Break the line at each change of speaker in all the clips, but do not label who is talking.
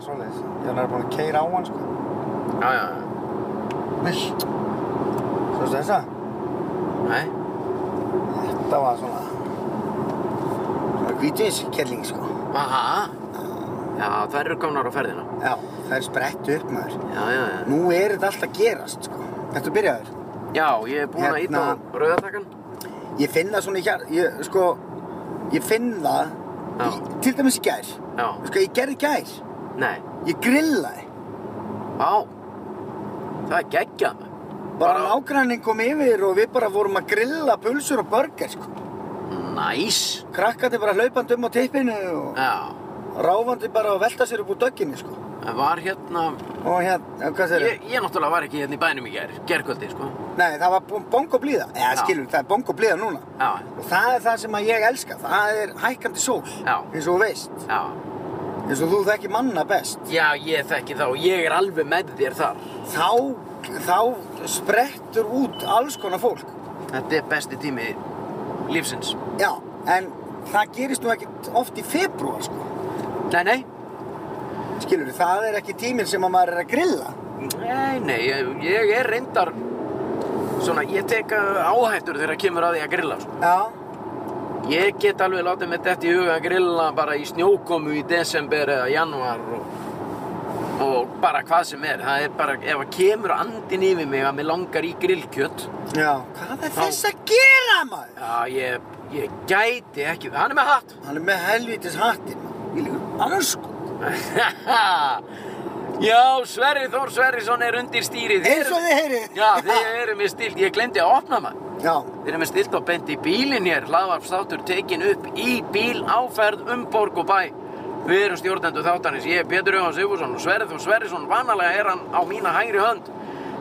svoleiðis. Ég hann er búin að keira á hann, sko.
Já, já, já.
Vilt. Svo þessa.
Nei,
Þetta var svona... Svona vítiskelling, sko.
aha. Já, þær eru komnar á ferðina.
Já, það er sprett upp, maður.
Já, já, já.
Nú er þetta alltaf gerast, sko. Þetta er byrjaður.
Já, ég er búinn að íta á
Hérna.
rauðatakan.
Ég finn það svona í hér, ég, sko, ég finn það,
Já.
í, til dæmis í gær,
Já,
sko, ég gerði í gær,
nei.
ég grillaði,
Á, það er geggjað.
bara
Bara-
nágrannin kom yfir og við bara vorum að grilla pulsur og burger, sko.
Næs.
Krakkandi bara hlaupandi um á tippinu og
Já,
ráfandi bara að velta sér upp úr dögginni, sko.
það var hérna,
Og hérna, hvað segir
ég, ég náttúrulega var ekki hérna í bænum í gær, gerkvöldi, sko.
Nei, það var bongo blíða, eða
Já.
skilur, það er bongo blíða núna.
Já,
Og það er það sem að ég elska, það er hækandi sól,
Já.
eins og þú veist,
já.
eins og þú þekki manna best.
Já, ég þekki þá, ég er alveg með þér þar.
þá, þá sprettur út alls konar fólk.
Þetta er besti tími lífsins.
Já, en það gerist nú ekkert oft í februar, sko.
Nei, nei.
Skilur það er ekki tíminn sem að maður er að grilla.
Nei, nei, ég, ég er reyndar Svona, ég tek uh, áhættur þegar kemur að því að grilla sko.
Já,
Ég get alveg látið með þetta í huga að grilla bara í snjókomu í desember eða januar og, og bara hvað sem er Það er bara, ef að kemur andin yfir mig að mig langar í grillkjött
já. Hvað er
Þá-
þess að gera, maður?
Já, ég, ég gæti ekki, hann er með hatt
Hann er með helvitis hattinn. Ég líkur alls sko.
Já, Sverri Þór Sverrisson er undir stýrið
Eins og þið heyrið.
Já, þið eru með stílt, ég glemdi að opna maður
Já,
Við erum með stilt og bent í bílinn hér, hlaðvarpstátur tekin upp í bíl áferð um borg og bæ. Við erum stjórnendur þáttanins, ég er Pétur Jóhann Sigfússon og Sverrið og Sverrisson, vanalega er hann á mína hægri hönd.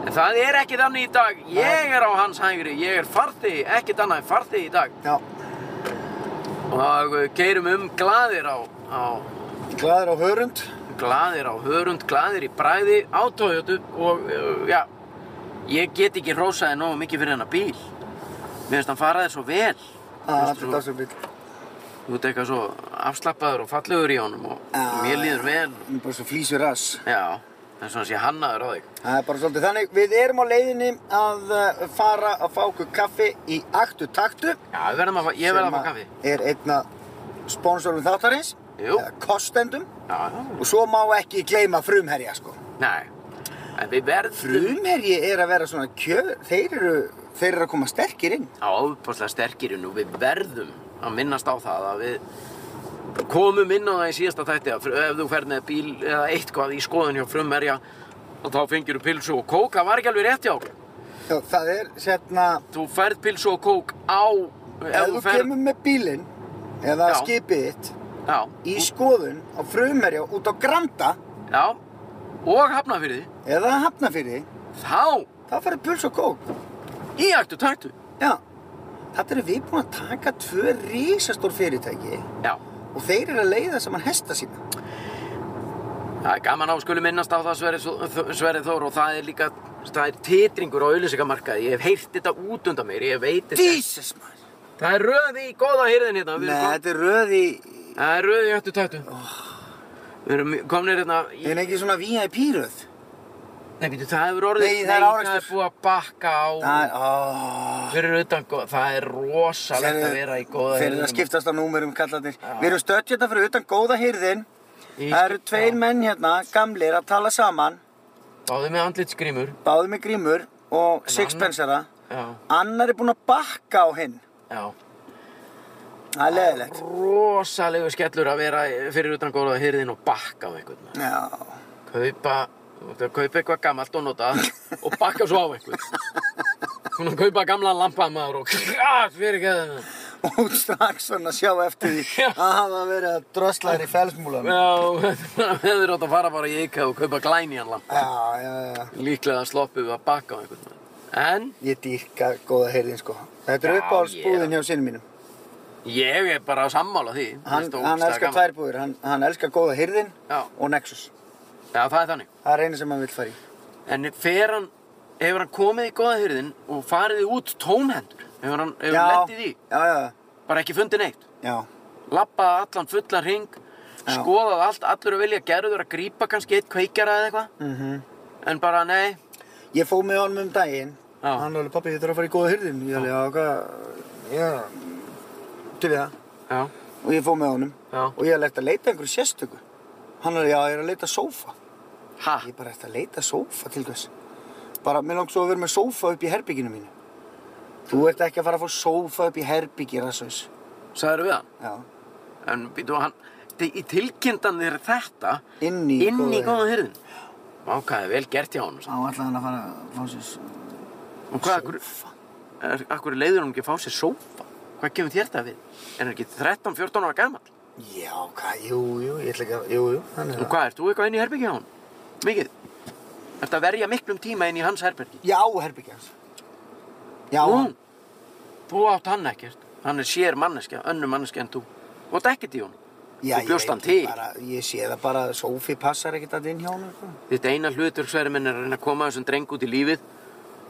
En það er ekki þannig í dag, ég er á hans hægri, ég er farþegi, ekkert annað en farþegi í dag.
já.
Og keirum um glaðir á, á,
Glæður á hörund.
glaðir á hörund, glaðir í bræði, á Toyota og, uh, já, ég get ekki rósaði nógu mikið fyrir hennar bíl. Mér finnst hann faraði svo vel.
Það er
Mér finnst
þetta sem bíl.
Þú ert eitthvað svo afslappaður og fallegur í honum og
Já.
mér líður vel.
Hún er bara svo flýsur ass.
Já, það er svona sé hannaður á þig.
Það er bara svolítið þannig. Við erum á leiðinni að uh, fara að fá okkur kaffi í aktu taktu.
Já, við verðum að fá, ég verð að fá
sem
kaffi.
að er einn af sponsorum þáttarins
Jú.
eða kostendum
Já, já,
og svo má ekki gleyma frumherja sko
nei. En við verðum...
frumherji er að vera svona kjör þeir eru, þeir eru að koma sterkir inn
Á ofpáslega sterkirinn og við verðum að minnast á það að við komum inn á það í síðasta þætti að fr- ef þú ferð með bíl eða eitthvað í skoðun hjá frumverja og þá fengir þú pilsu og kók. Það var ekki alveg rétt hjá okkur.
Já, það er sérna
Þú ferð pilsu og kók á...
ef þú kemur með bílinn eða
Já.
skipið þitt í
Já,
skoðun á frumherja út á Granda
já. Og hafnafyrði.
eða Hafnafyrði
Þá
þá farið puls og kók
Í aktu taktu
Já, þetta eru við búin að taka tvö risastór fyrirtæki
Já
og þeir eru að leiða saman hesta sína
Það er gaman á skuli minnast á það Sverri, Þó- Sverri Þór og það er líka það er titringur á auðlýsingamarkaði ég hef heyrt þetta út undan mér ég veit þetta
Jesus maður
Það er röði í góða hýrðin hérna við
Nei,
erum
þetta er röð í...
kom- Það er röði í aktu taktu Við erum komnir hérna í...
Er ekki svona VIP röð?
Nei, býtu, það hefur orðið
Nei, það er
það er
árekstur. Ah.
búið að bakka á
Það er... Oh.
Fyrir utan góða Það er rosalegt að vera í góða
Fyrir að
hirðinum.
skiptast á númerum kallarnir.
Já.
Við erum stött hérna fyrir utan góða hirðin.
Í-
Það eru tveir menn hérna, gamlir, að tala saman.
Báðu með andlitsgrímur
Báði með grímur og sixpensara.
Já,
Annar er búinn að bakka á hinn.
já
Það er leðilegt.
Rosalegu skellur að vera fyrir utan góða hýrðin og bakka á einhvern
Já.
kaupa þú ert að kaupa eitthvað gammalt og nota og bakka svo á einhvern svona kaupa gamla lampa maður og krat fyrir geðinu
Út strax svona að sjá eftir því
Já.
að hafa verið að drösla þér í felsmúlan. Já,
já, við erum átt að fara bara í IKEA og kaupa glænýjan lampa
já, já. já.
líklega sloppum við að bakka á einhvern maður. en
Ég dýrka góða hirðin sko. Þetta er
Já,
uppáhaldsbúðin hjá sinni mínum.
ég er bara að sammála því
Hann,
Mér finnst það
hann
ógeðslega
elskar
gaman.
tvær búðir, hann, hann elskar góða hirðin
Já.
og Nexus.
já, það er þannig
Það er eina sem hann vil fara í.
en fer hann hefur hann komið í góða hyrðin og farið í út tómhendur hefur hann hefur
já,
lendið í því
já, já,
bara ekki fundið neitt
já,
lappaði allan fullan ring
Já.
skoðað allt, allur að vilja gerður að grípa kannski eitt kveikjara eða eitthvað
Mhm.
en bara nei,
Ég fóð með honum um daginn
Já.
Hann er alveg pappi, ég þarf að fara í góða hyrðin Ég alveg, já, hvað Já, til við það
já,
Og ég fóð með honum
Já.
Og ég alveg að leita einhverju sérstöku Hann er, já, ég er að leita sófa
ha
Ég bara eftir að leita sófa til þess Bara, mér langt svo að vera með sófa upp í herbygginu mínu Þú ert ekki að fara að fá sófa upp í herbyggi, rassveis
sagður við hann,
Já,
en býtu hann til- í tilkynntan þér þetta
inn í
inn í
góða
góða hyrðin Mákaði vel gert hjá hann
Þá ætlaði hann að fara að fá sér s-
og hvað, akkur, er, akkur leiður hann ekki að fá sér sófa hvað kemur þér það við, er hann ekki 13-14 ára gamall
Já, hvað, jú, jú, ég ætla ekki að, jú, jú, hann er
og hvað, ert þú eitthvað inn í herbergi hjá hann mikið, ert að verja miklum tíma inn í hans herbergi
Já, herbyggja hans Já,
Nú, þú átt hann ekkert hann er sér manneskja, önnu manneskja en þú og þetta ekkert í honum
Já,
Þú bjóst
ég
hann
veit
til.
Bara, ég sé það bara, Sophie passar ekkert að inn hjá sko. hún.
Þetta eina hluturksverði minn er að reyna að koma þessum dreng út í lífið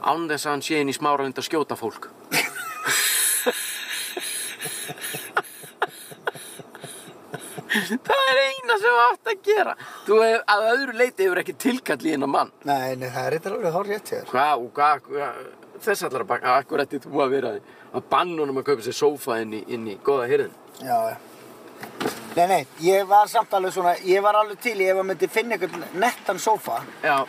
án þess að hann sé inn í smáralind að skjóta fólk. það er eina sem þú átt að gera. Þú hef, að öðru leiti hefur ekki tilkall í hennar mann.
Nei, nei, það er eitthvað alveg hár rétt hér.
Hvað og hvað, hvað, þess allar að baka, akkur ætti þú að vera því? að banna honum að kaupa sér sófa inn í, inn í goða hirðin.
Já, já. Nei, nei, ég var samt alveg svona, ég var alveg til, ég var myndi finna einhvern nettan sófa,
Já,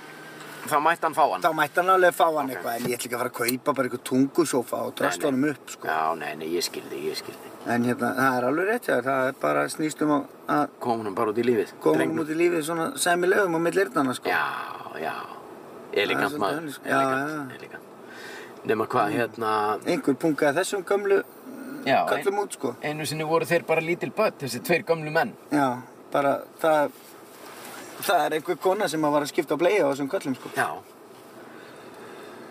þá mætti hann fá hann.
þá mætti hann alveg fá hann eitthvað, en ég ætla ekki að fara að kaupa bara einhvern tungusófa og drasta
Nei, nei.
honum upp, sko.
Já, nei, nei, ég skildi, ég skildi.
En hérna, það er alveg rétt hér, það er bara snýst um að- að
Kom honum bara út í lífið.
koma
drengnum.
honum út í lífið svona semilegum á millirnana, sko.
Já, já,
Það er
elegant
svolítið
maður,
þannig, sko. Já,
elegant,
já. Mm.
elegant. Nefna hvað, hérna,
Einhver pungaði þessum gömlu
já,
kallum út, sko.
einu sinni voru þeir bara lítil börn, þessi tveir gamlu menn.
Já, bara það, það er einhver kona sem að var að skipta að bleiða á þessum köllum sko.
Já.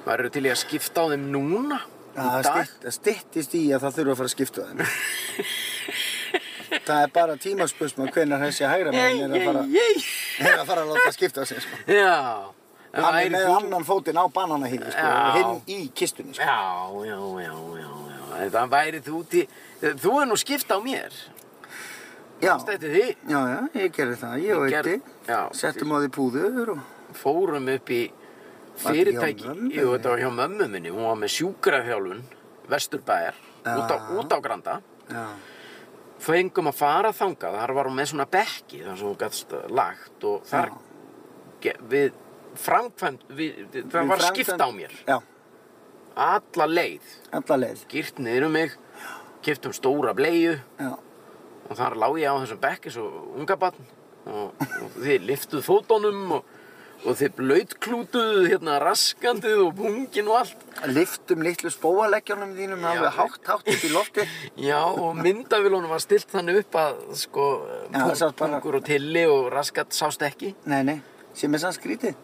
Varu til í að skipta á þeim núna?
Já, Það stytt- það styttist í að það þurfa að fara að skipta þeim. það er bara tímaspursma hvenar þessi hægra
Jæj,
meginn er að
jæj,
fara,
jæj.
er að, fara að láta skipta sér sko.
Já. en
Hann
væri
er með
þú-
annan fótinn á bananahýði sko,
Já.
og hinn í kistunni sko.
Já, já, já, já, já. En það væri þú til, þú er nú skipta á mér.
Já,
Stætti því.
já, já, ég gerði það, ég og
Ég gerði-
Eddi,
já.
settum á því púður og...
fórum upp í
Var þetta hjá
fyrirtæki,
mömmu
jú þetta var hjá mömmu minni, hún var með sjúkrafjálfun, vesturbæjar, út, á,
Já.
út á Granda.
Já,
Fengum að fara þangað, þar var hún með svona bekki þar sem hún gætt lagt og þar
Ah.
ge- við framkvæmd, við, við- það
Við
var
framkvæmd-
skipt á mér,
já,
alla leið,
alla leið,
girt niður um mig, kiptum stóra bleiðu
já,
og þar lá ég á þessum bekki svo unga batn og, og þið liftuð fótunum og, og þið blöytklútuðu hérna raskandið og pungin og allt
liftum litlu spóaleggjónum þínum alveg hátt, hátt upp í lofti.
já og myndavélunum var stilt þannig upp að sko
Já, það sást bara-
pungur og tilli og raskat sást ekki
Nei, nei, sem er sann skrítið.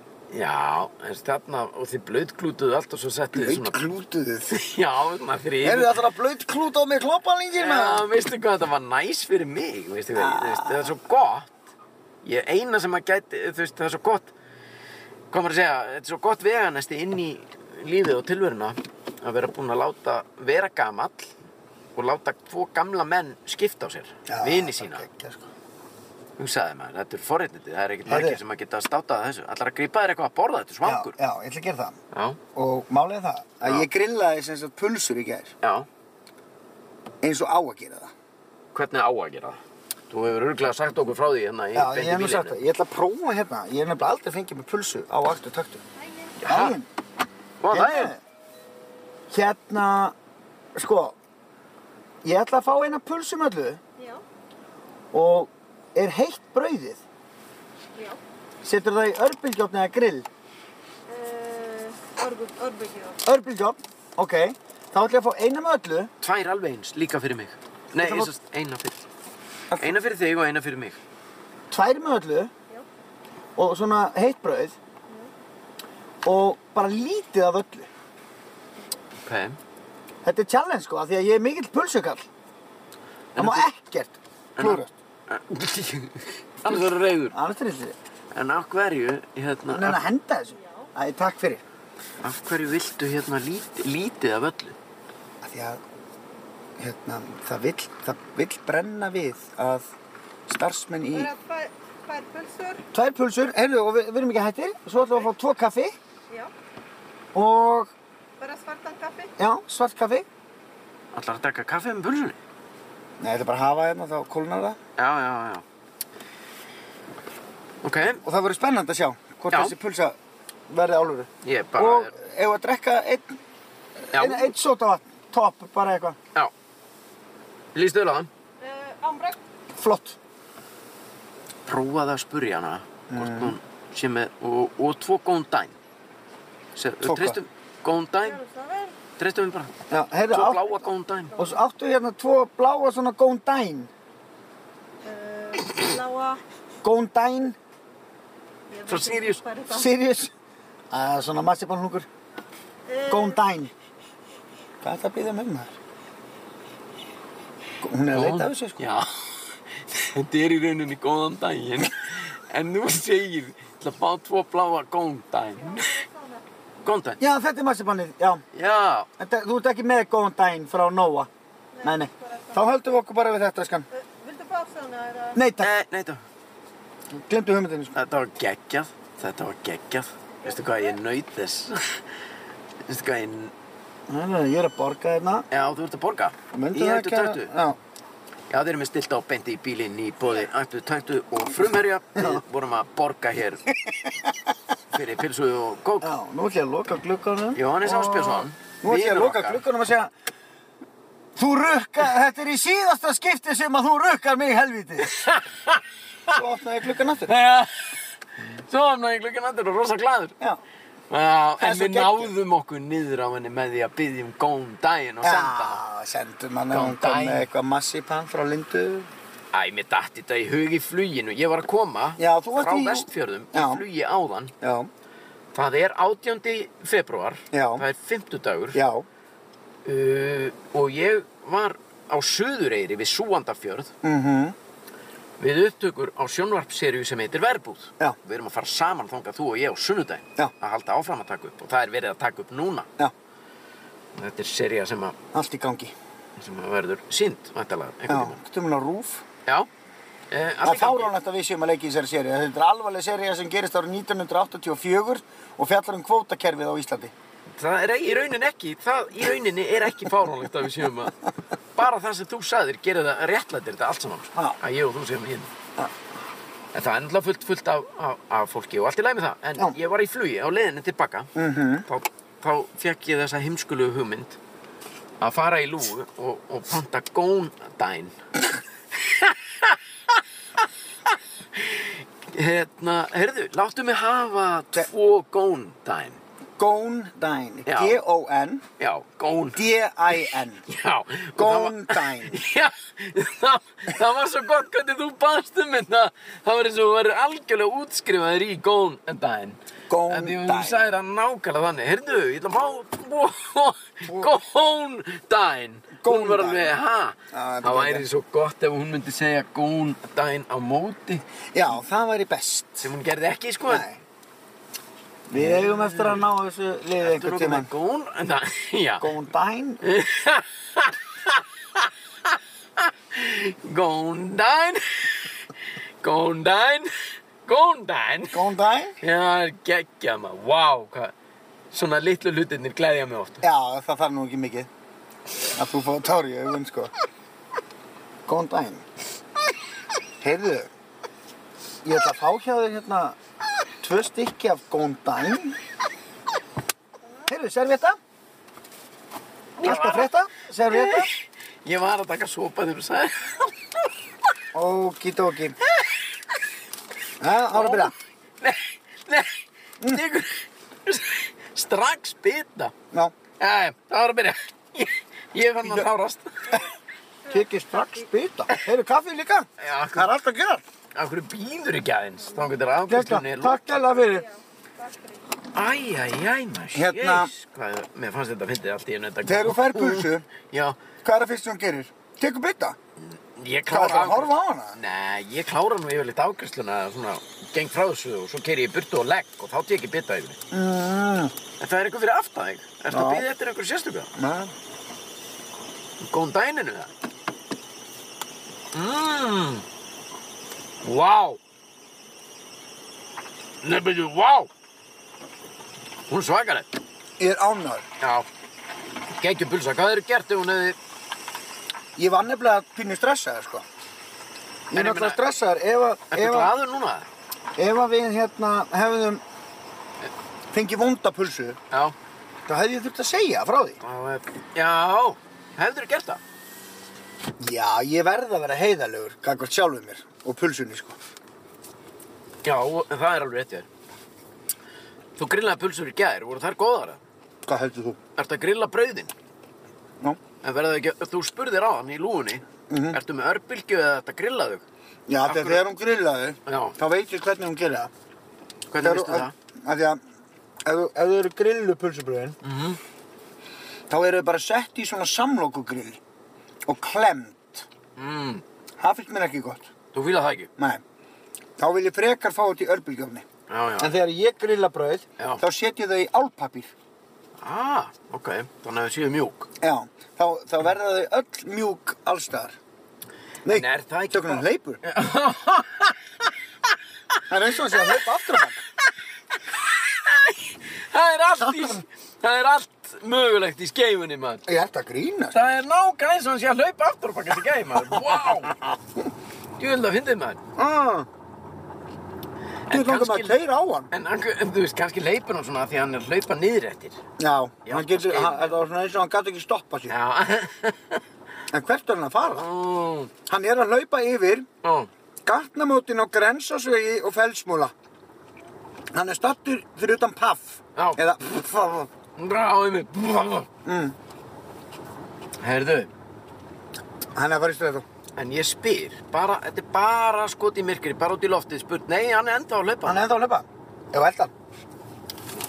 já en þarna og þið blöytklútuðu allt og svo settu þið svona hérna
Blöðklútuðu þið.
já svona þrýr
Eru það alltaf blöðklút á mig kloppalingir með
Já, veistu hvað, þetta var næs fyrir mig, veistu hvað, ah. veistu, það er svo gott. Ég er eina sem að gæti, þú veist, það er svo gott, hvað maður að segja, þetta er svo gott veganesti inn í lífið og tilveruna að vera búinn að láta vera gamall og láta tvo gamla menn skipta á sér, vini sína.
sko.
Hugsaði maður, þetta er forréttindi, það er ekkert
Heyrðu.
margir sem að geta státað að þessu. Allar að grípa þér eitthvað að borða, þetta er svangur.
Já, já, ég ætla að gera það.
Já,
Og málið er það að
Já.
ég grillaði sem sagt pulsur í gær
já,
eins og á að gera það.
hvernig á að gera það? Þú hefur örglega sagt okkur frá því hérna í
Já,
beint
ég
í
hef nú sagt
bílinu.
það. Ég ætla að prófa hérna. Ég hef nefnilega aldrei fengið mér pulsu á aktu taktu.
Já, hvað það er?
Hérna, sko, ég ætla að fá eina pulsumöllu
Já,
og er heitt brauðið.
já.
Setur það í örbylgjófn eða grill.
Uh, Orbugjó.
Örbylgjófn, ok. Þá ætla ég að fá eina með öllu.
Tvær alveg eins, líka fyrir mig. Nei,
Þetta var-
eins og eina fyrir. Eina fyrir þig og eina fyrir mig.
tvær með öllu
Já.
og svona heitt brauð og bara lítið af öllu.
Ok.
Þetta er challenge sko, af því að ég er mikill pulsukall.
En
Það má
þú-
ekkert klúrast.
Annars verður reyður.
Það er trillir.
En af hverju, hérna,
Þannig að
af,
henda þessu. Æ, takk fyrir.
af hverju viltu hérna lít, lítið af öllu?
Af því að hérna, það, vill, það vill brenna við að Starfsmenn í...
Bara tvær- tvær pulsur,
Tvær pulsur, heyrðu, og við, við erum ekki hættir. Svo ætlum við að fá tvo kaffi
já.
og,
Bara svartan kaffi.
já, svart kaffi.
Allar að taka kaffe með pulsunni?
Nei, þetta er bara að hafa hérna, þá kólnar það.
Já, já, já. Ok,
Og það verður spennand að sjá hvort
Já.
þessi pulsa verði áluru.
ég bara...
Og ef að drekka einn
já,
ein, ein sótavatn, topp, bara eitthvað,
já. Lýstu vel á það?
Uh, ámbrögg.
flott.
Prófaði að spurja hana hvort
Mm.
hún sé með... Og, og tvo góðan dæn. Se,
Tvo hvað?
treystum, góðan
Já,
dæn,
það er.
treystum við bara.
Já, heyrðu,
Tvo
átt,
bláa góðan dæn.
og svo áttu hérna tvo bláa svona góðan dæn.
Uh, lága.
Góðan dæn,
Ég
Frá
veit ekki
Sirius.
hvað er það.
Sirius, að svona massibann húkur,
Eh,
góðan dæn. Hvað er það að býða með maður? Hún er að leita af þessu, sko.
Já, þetta er í rauninni góðan daginn. En nú segir, ég ætla að fá tvo bláa góðan daginn.
eh,
Góðan daginn?
Já, þetta er massibannið, já.
Já,
En þa- þú ert ekki með góðan dæn frá Nóa. Nei, nei. Þá höldum við okkur bara við þetta, skan.
eh, Viltu fá svona? eða-
Nei, takk.
Eh, nei, þetta-
Glemdu hugmyndinni, sko.
þetta var geggjað. Þetta var geggjað. Veistu hvað ég nöyt þess? Veistu hvað ég... n-
Nei, nei, ég er að borga þérna.
Já, þú ert að borga.
Myndu
Í
það
hættu
ekki að...
taktu.
Já,
Já, þeir eru með stilt á bendi í bílinn í bóði ættu taktu og frumherja. Við vorum að borga hér fyrir pilsu og kók.
já, nú ætlum ég að loka glugganum.
Jóhannes Áspjörsson,
Nú ætlum ég að
vinur
loka
okkar.
glugganum og segja... Þú rukka, þetta er í síðasta skipti sem að þú rukkar mig helviti. Svo opnaði ég gluggan aftur.
Já, svo opnaði ég klukkan andur og rosa gladur.
Já,
Já,
Það er
en
svo
við
geggjað.
náðum okkur niður á henni með því að byggja um góðan daginn og
já,
senda hana.
sendum hann ef hún
Góðan
kom
daginn.
með eitthvað massipan frá Lindu.
Æ, mér datt þetta í hug í fluginu. Ég var að koma
Já, þú varst
frá
í-
vestfjörðum í
Já.
flugi áðan.
Já,
Það er 18. februar,
Já.
það er 50 dagur
já,
uh, og ég var á Suðureyri við Súandafjörð
mhm,
við upptökur á sjónvarpseríu sem heitir Verbúð.
Já.
Við erum að fara saman þangað þú og ég á sunnudaginn
Já.
að halda áfram að taka upp og það er verið að taka upp núna.
já,
Þetta er seríu sem að
allt í gangi.
sem að verður sínd, vantalega,
Já,
einhvern tíma.
getum hún á rúf.
Já. Eh, allt
Það
í
er
gangi.
fáránlegt að við séum að leika í þessari séri. Þetta er alvarleg séri sem gerist árið 1984 og fjallar um kvótakerfið á Íslandi.
Það er í rauninni ekki, það í rauninni er ekki fáránlegt að við séum að bara það sem þú sagðir gerir það réttlættir þetta allt saman. sko.
Já.
Að ég og þú séum hinn.
Já.
En það er náttúrulega fullt, fullt af, af, af fólki og allt í lagi með það. En
Já. Mhm.
ég var í flugi á leiðinni tilbaka. Mm -hmm. þá, þá fekk ég þessa heimskulu hugmynd að fara í lúgu og, og panta góndæn. hérna, heyrðu, láttu mig hafa tvo góndæn.
Góndæn.
Já.
G-O-N.
Já, gónd.
D-I-N.
Já.
Góndæn.
Já, það, það var svo gott hvernig þú baðst um þetta. Það var eins og þú verður algjörlega útskrifaður í góndaginn.
Góndaginn.
En því að þú sagðir það nákvæmlega þannig. Heyrðu, ég ætla að fá góndaginn. Hún var alveg, ha?
Já, þetta
Það
er
væri svo gott ef hún myndi segja góndaginn á móti.
Já, það væri best.
Sem hún gerði ekki, sko.
Nei. Við eigum eftir að ná þessu liðið
Þú
einhvern
erum
tímann.
með góndaginn. Já.
Góndæn.
Góndaginn. Góndaginn. Góndaginn.
Góndæn.
Já, það er geggjað maður, vá, hvað, svona litlu hlutirnir gleðja mig ofta.
Já, það þarf nú ekki mikið. Að þú fá tári í augun, sko. Góndæn. Heyrðu, ég ætla að fá hjá þér hérna tvö stykki af góndæn. Heyrðu, servietta. Allt að frétta, servietta.
Ég var að taka sopa þegar þú sagði.
Okidoki. Já, ára að byrja.
Nei, nei, tekur, strax bita.
Já,
Jæja, það var að byrja. Ég, ég fann að tárast.
tekið strax bita. Heyrðu, kaffi líka.
Já,
Það er allt að gera.
af hverju býður ekki aðeins? Þá getur
Gesta,
afgjörslunni
takk gæla fyrir.
Æ, æ, æ, maður,
Hérna-
jeis, hvað, mér fannst þetta að fyndið allt í einu þetta.
Þegar þú fær pulsu.
Já,
Hvað er það fyrst sem hún gerir? Tekur bita.
ég
Hvað
klára
er það að horfa á hana?
Nei, ég klára nú yfirleitt afgjörsluna, svona, geng frá þessu og svo keiri ég í burtu og legg og þá tek ég bita yfir.
Mm.
En það er eitthvað fyrir aftan þig. Ertu að
Já.
býða eftir einhver sérstöku?
Nei.
Góðan dæninu það. Mmm. Vá! Nei, byrju, vá! Hún er svakaleg.
Ég er ánæður.
Já. Gengjum pulsa, hvað hefur gert ef hún hefði...
Ég var nefnilega pínu stressaður, sko. Ég er
En ég
náttúrulega
meina-
stressaður ef að,
Ertu
ef að,
glaður núna?
ef að við hérna hefðum fengið vonda pulsu,
Já.
þá hefði ég þurft að segja frá því.
Já, eh, Já, hefur þú gert það?
Já, ég verð að vera heiðalegur, gangvart sjálfum mér og pulsunni, sko.
Já, það er alveg rétt ég þér. Þú grillaði pulsur í gær, voru þær góðara?
Hvað heldur þú?
Ertu að grilla brauðin?
Ná?
En verða ekki, þú spurðir á hann í lúgunni,
Mhm.
ertu með örbylgju eða ertu að grilla þau?
Já,
Af
þegar,
hverju-
þegar hún grillaði,
Já.
þá veit ég hvernig hún gerir það.
Hvernig vistu það?
Af því að, ef þú- ef þú eru grillu pulsubröðin,
Mhm.
þá eru þau bara sett í svona samlokugrill og klemt.
Mm,
Það finnst mér ekki gott.
þú fýlað það ekki?
Nei. Þá vil ég frekar fá þetta í örbylgjöfni.
Já, já.
En þegar ég grilla brauð,
Já.
þá setjum ég þau í álpapír.
Ah, ok, þannig að þau séu mjúk.
Já, þá, þá verða þau öll mjúk allstaðar. Nei,
En er það ekki
tökum hann
bara-
leipur. það er eins og hann sé að leipa aftur á hann.
Það er allt í, það er allt mögulegt í skeifunni, maður.
Ég ert að grínast.
Það er nákvæmlega eins og hann sé að hlaupa aftur og baka til geim, maður. Vá! Ég vil það fyndið, maður.
Ah, þú
En
langar maður að
kannski-
keira á hann.
En, hann- en þú veist, kannski leipur hann svona af því að hann er að hlaupa niður eftir.
Já,
Já,
hann getur,
kannski.
hann, það var svona eins og hann gæti ekki stoppa sér.
Já.
En hvert er hann að fara?
Ó,
Hann er að laupa yfir
ó,
gatnamótin á grensasvegi og felsmúla. Hann er stattur fyrir utan paff.
Já.
Eða pff,
ráði mig.
mm,
Herðu,
hann er að fara í strætó.
en ég spyr, bara, þetta er bara skot í myrkri, bara út í loftið, spurt, nei, hann er enda að hlaupa.
Hann er ennþá að laupa. Ég held hann.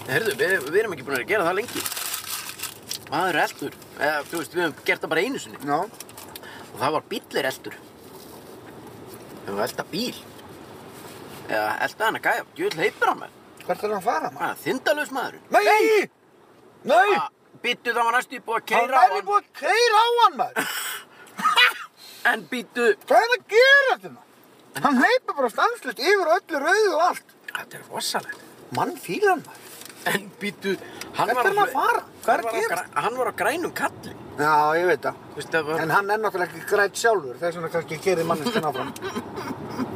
Herðu, við, við erum ekki búin að gera það lengi. Maður er eldur. Eða, þú veist, við höfum gert það bara einu sinni.
Já.
Og það var bíllir eldur. Við höfum elda bíl. Eða, elda hann að gæja. Jú, hleypur hann með.
Hvert er hann að fara maður?
Hann er þindalus maður.
Nei! Nei!
Býttu það var næstu í búið að
Hann
keira Ah, á
væri
hann.
búið að keira á hann maður.
En býttu.
Hvað er að gera þetta maður? Hann hleypur bara stanslust yfir öllu rauðu og allt.
Þetta er rosalegt.
Mann fýlar hann maður.
En býttu. Hann
Hvert
var
er hann að fara? Hvað er
hann var
að
á
gera?
græ- Hann var á grænum kalli.
Já, ég veit það.
Þú veist, það var...
En hann er náttúrulega ekki grætt sjálfur, þess vegna kannski kerði manneskinn áfram.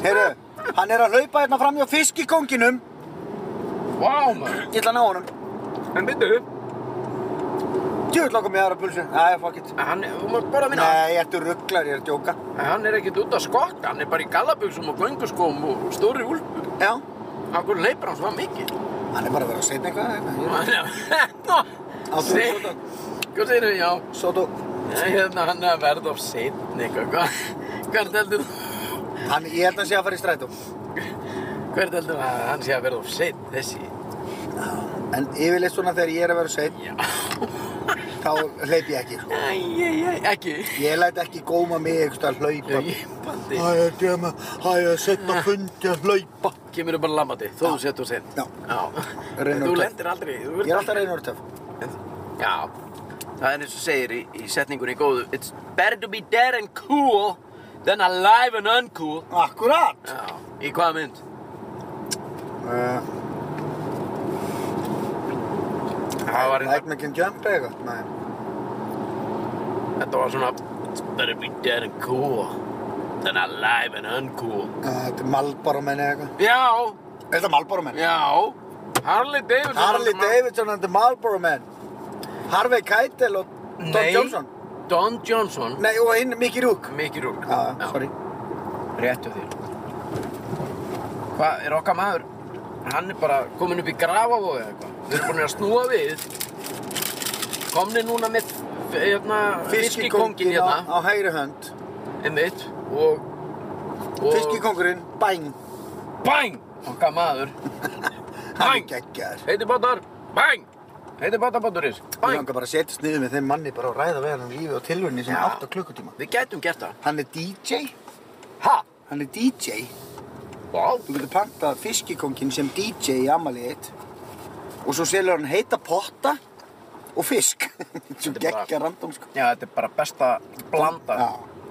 Heyrðu, hann er að hlaupa hérna fram hjá fiskikónginum.
Vá, maður.
Ég ætla að ná honum.
En býttu.
Djúvill langar mig í aðra pulsu. Æ, fuck it.
Hann, þú mátt borða minna.
Nei, ertu rugglar, ég er að djóka.
En Hann er ekkert út að skokka, hann er bara í gallabuxum og gönguskóm og stóri úlpu.
Já.
Akkur leipur hann svona mikið.
Hann er bara að vera að setja eitthvað, eitthvað. Á þú,
Þannig
Sótó.
að... Hvað segir þau? Já,
Sótó,
Nei, hérna hann er að verða of setn eitthvað. Hva- Hvert heldur þú?
hann, ég held að hann sé að fara í strætó.
Hvert heldur þú að hann sé að verða of setn þessi?
En yfirleitt svona þegar ég er að vera seinn,
Já.
þá hleyp ég ekki. sko.
Æ, æ, æ, ekki.
Ég læt ekki góma mig eitthvað að hlaupa.
Hlaupandi.
Æ, ég er djöma, æ, ég er setna fundi að hlaupa.
Kemur þú bara lammandi, þó þú setur of setn.
Já.
Já.
Reynir
En þú
að-
lendir aldrei. Þú
Ég
verður
er alltaf reynur töf.
En- Já, það er eins og segir í, í setningunni góðu It's better to be dead and cool than alive and uncool
Akkurát.
Já, í hvaða mynd?
Uh,
Það var
Like me can jump eða eitthvað? Nei.
Þetta var svona It's better to be dead and cool than alive and uncool
Uh, Þetta er Malboro menn eða eitthvað.
Já,
Er þetta Malboro menn?
já Harley Davidson
Harley Davidson and the Marlboro men. Harvey Keitel og Don
Nei,
Johnson.
Don Johnson
Nei, og hinn Mickey Rook.
Mikki Rúk
Já, ah, sorry.
Réttu þér Hvað er okkar maður? Hann er bara kominn upp í grafavói eða eitthvað Við erum búin að snúa við Komni núna með hérna, fiskikongin
Fiskikóngin á,
hérna
á hægri hönd.
Einmitt Og, og
Fiskikóngurinn, bang.
Bang! Okkar maður
Hann er
Bang!
geggjaður.
Heiti bátar Bang! Heiti bátar báturins
Ég
Bang!
langar bara að setjast niður með þeim manni bara og ræða við hann um lífið og tilvunni sem
Já.
8 klukkutíma.
Við gætum gert það
Hann er DJ.
Ha?
Hann er DJ.
Vá
Þú getur pantað fiskikongin sem DJ í amalið þitt og svo selur hann heita potta og fisk. Svo
Þetta er bara-
geggja random sko.
Já, þetta er bara besta blanda
Já.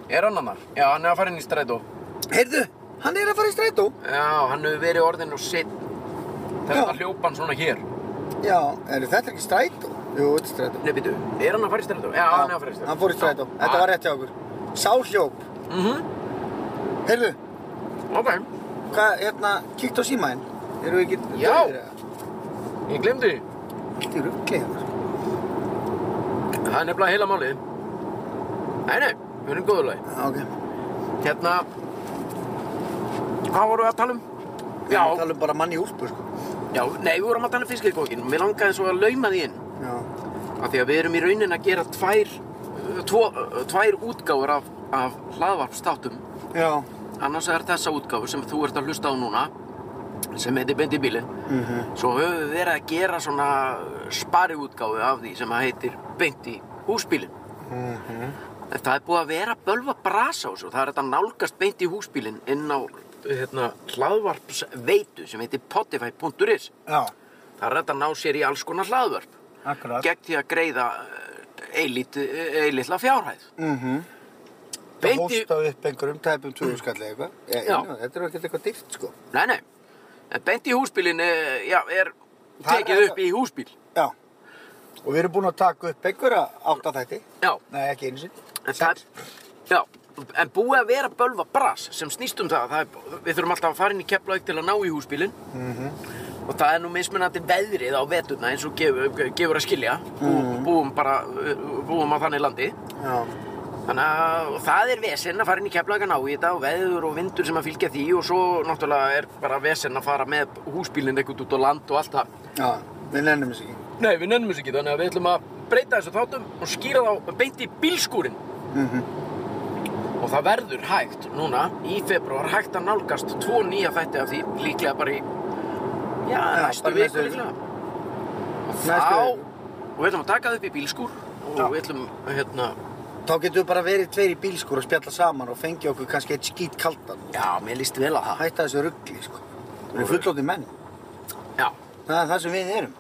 Er hann hann? Já, hann er að fara inn í strætó
Heyrðu, hann er að fara í strætó.
Já, hann hefur verið orðinn og sitt. Þetta
Já.
hljópa hann svona hér.
Já, er þetta er ekki strætó? Jú, þetta er strætó.
Nei, býtu, er hann að fara í strætó? Já, hann er að fara í strætó.
Hann fór í strætó. Þetta var rétt hjá okkur. Sá hljóp.
Mm
Heyrðu,
Ok,
hvað, hérna, kíkt á símaðinn. Eru við ekki...
Já.
dauðir eða?
ég glemdi því.
Allt í ruggli hérna.
Það er nefnilega heila málið. Nei, nei, við erum góður lagi.
Já, ok.
Hérna, hvað vorum við að tala um?
Við
Já,
erum að tala um bara mann í úlpu, sko.
já, nei, við vorum að tala um fiskikókin. Mér langaði svo að lauma því inn.
Já.
Af því að við erum í raunin að gera tvær, tvo, tvær útgáfur af, af hlaðvarpstátum.
Já.
Annars er þessa útgáfu sem þú ert að hlusta á núna, sem heitir Bendi bílinn.
Mm
Svo höfum við verið að gera svona spari útgáfu af því sem að heitir Beint í húsbílinn. Mhm. En það er búið að vera að bölva brasa á svo. Það er þetta nálgast beint í húsbílinn inn á hérna, hlaðvarpsveitu sem heitir potify.is.
Já,
Það er þetta að ná sér í alls konar hlaðvarp.
akkurat.
Gegn því að greiða eh, eilitla fjárhæð.
Mm -hmm. Það
Beint í...
hósta upp einhverjum tæpum tjóðskalli eitthvað. Já.
Já.
já, Þetta er ekkert eitthvað dýrt, sko.
Nei, nei. En beint í húsbílinn eh, já, er
Það er
tekið
þetta-
upp í húsbíl.
Já. Og við erum búin að taka upp einhverja áttaþætti.
Já.
Nei, ekki einu sinni.
En það er, já, en búið að vera bölva bras sem snýst um það, það er, við þurfum alltaf að fara inn í Keflavík til að ná í húsbílinn og það er nú mismunandi veðrið á veturna eins og gefur, gefur að skilja, Bú, búum bara, eh, búum á þannig landi.
Já.
Þannig að og það er vesen að fara inn í Keflavík að ná í þetta og veður og vindur sem að fylgja því og svo náttúrulega er bara vesen að fara með húsbílinn eitthvað út á land og allt það.
Já, við nennum þess ekki.
Nei, við nennum þessu ekki, þannig að við ætlum að breyta þessu þáttum og skýra þá beint í bílskúrin.
Mhm.
Og það verður hægt núna í februar hægt að nálgast tvo nýja þætti af því, líklega bara í, já,
Já,
næstu
bara
viku
næstu viku.
líklega. Og
Næstu
þá,
viku.
og við ætlum að taka það upp í bílskúr og
Já.
við ætlum, hérna,
Þá getum við bara verið tveir í bílskur og spjalla saman og fengi okkur kannski eitt skít kaldan.
já, mér líst vel á það.
Hætta þessu ruggli, sko. Við erum fullóti menn.
Já,
Það er það sem við erum.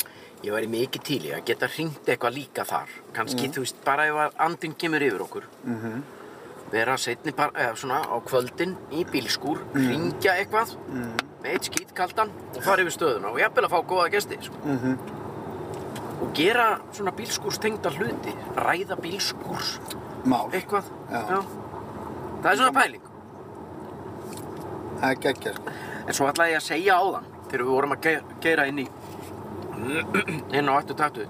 ég væri mikið til í að geta hringt eitthvað líka þar. Kannski, þú veist, bara ef að andinn kemur yfir okkur.
Mm -hmm.
vera setni par, eða svona á kvöldin í bílskúr, mm. ringja eitthvað með eitt skýt kaldan og fara yfir stöðuna og jafnvel að fá góða gesti sko.
Mm
og gera svona bílskúrstengda hluti ræða bílskúrs
Mál.
eitthvað
Já.
það er svona pæling
Það er geggja, sko.
en svo ætlaði ég að segja á þann þegar við vorum að ge- gera inn í inn á 8.20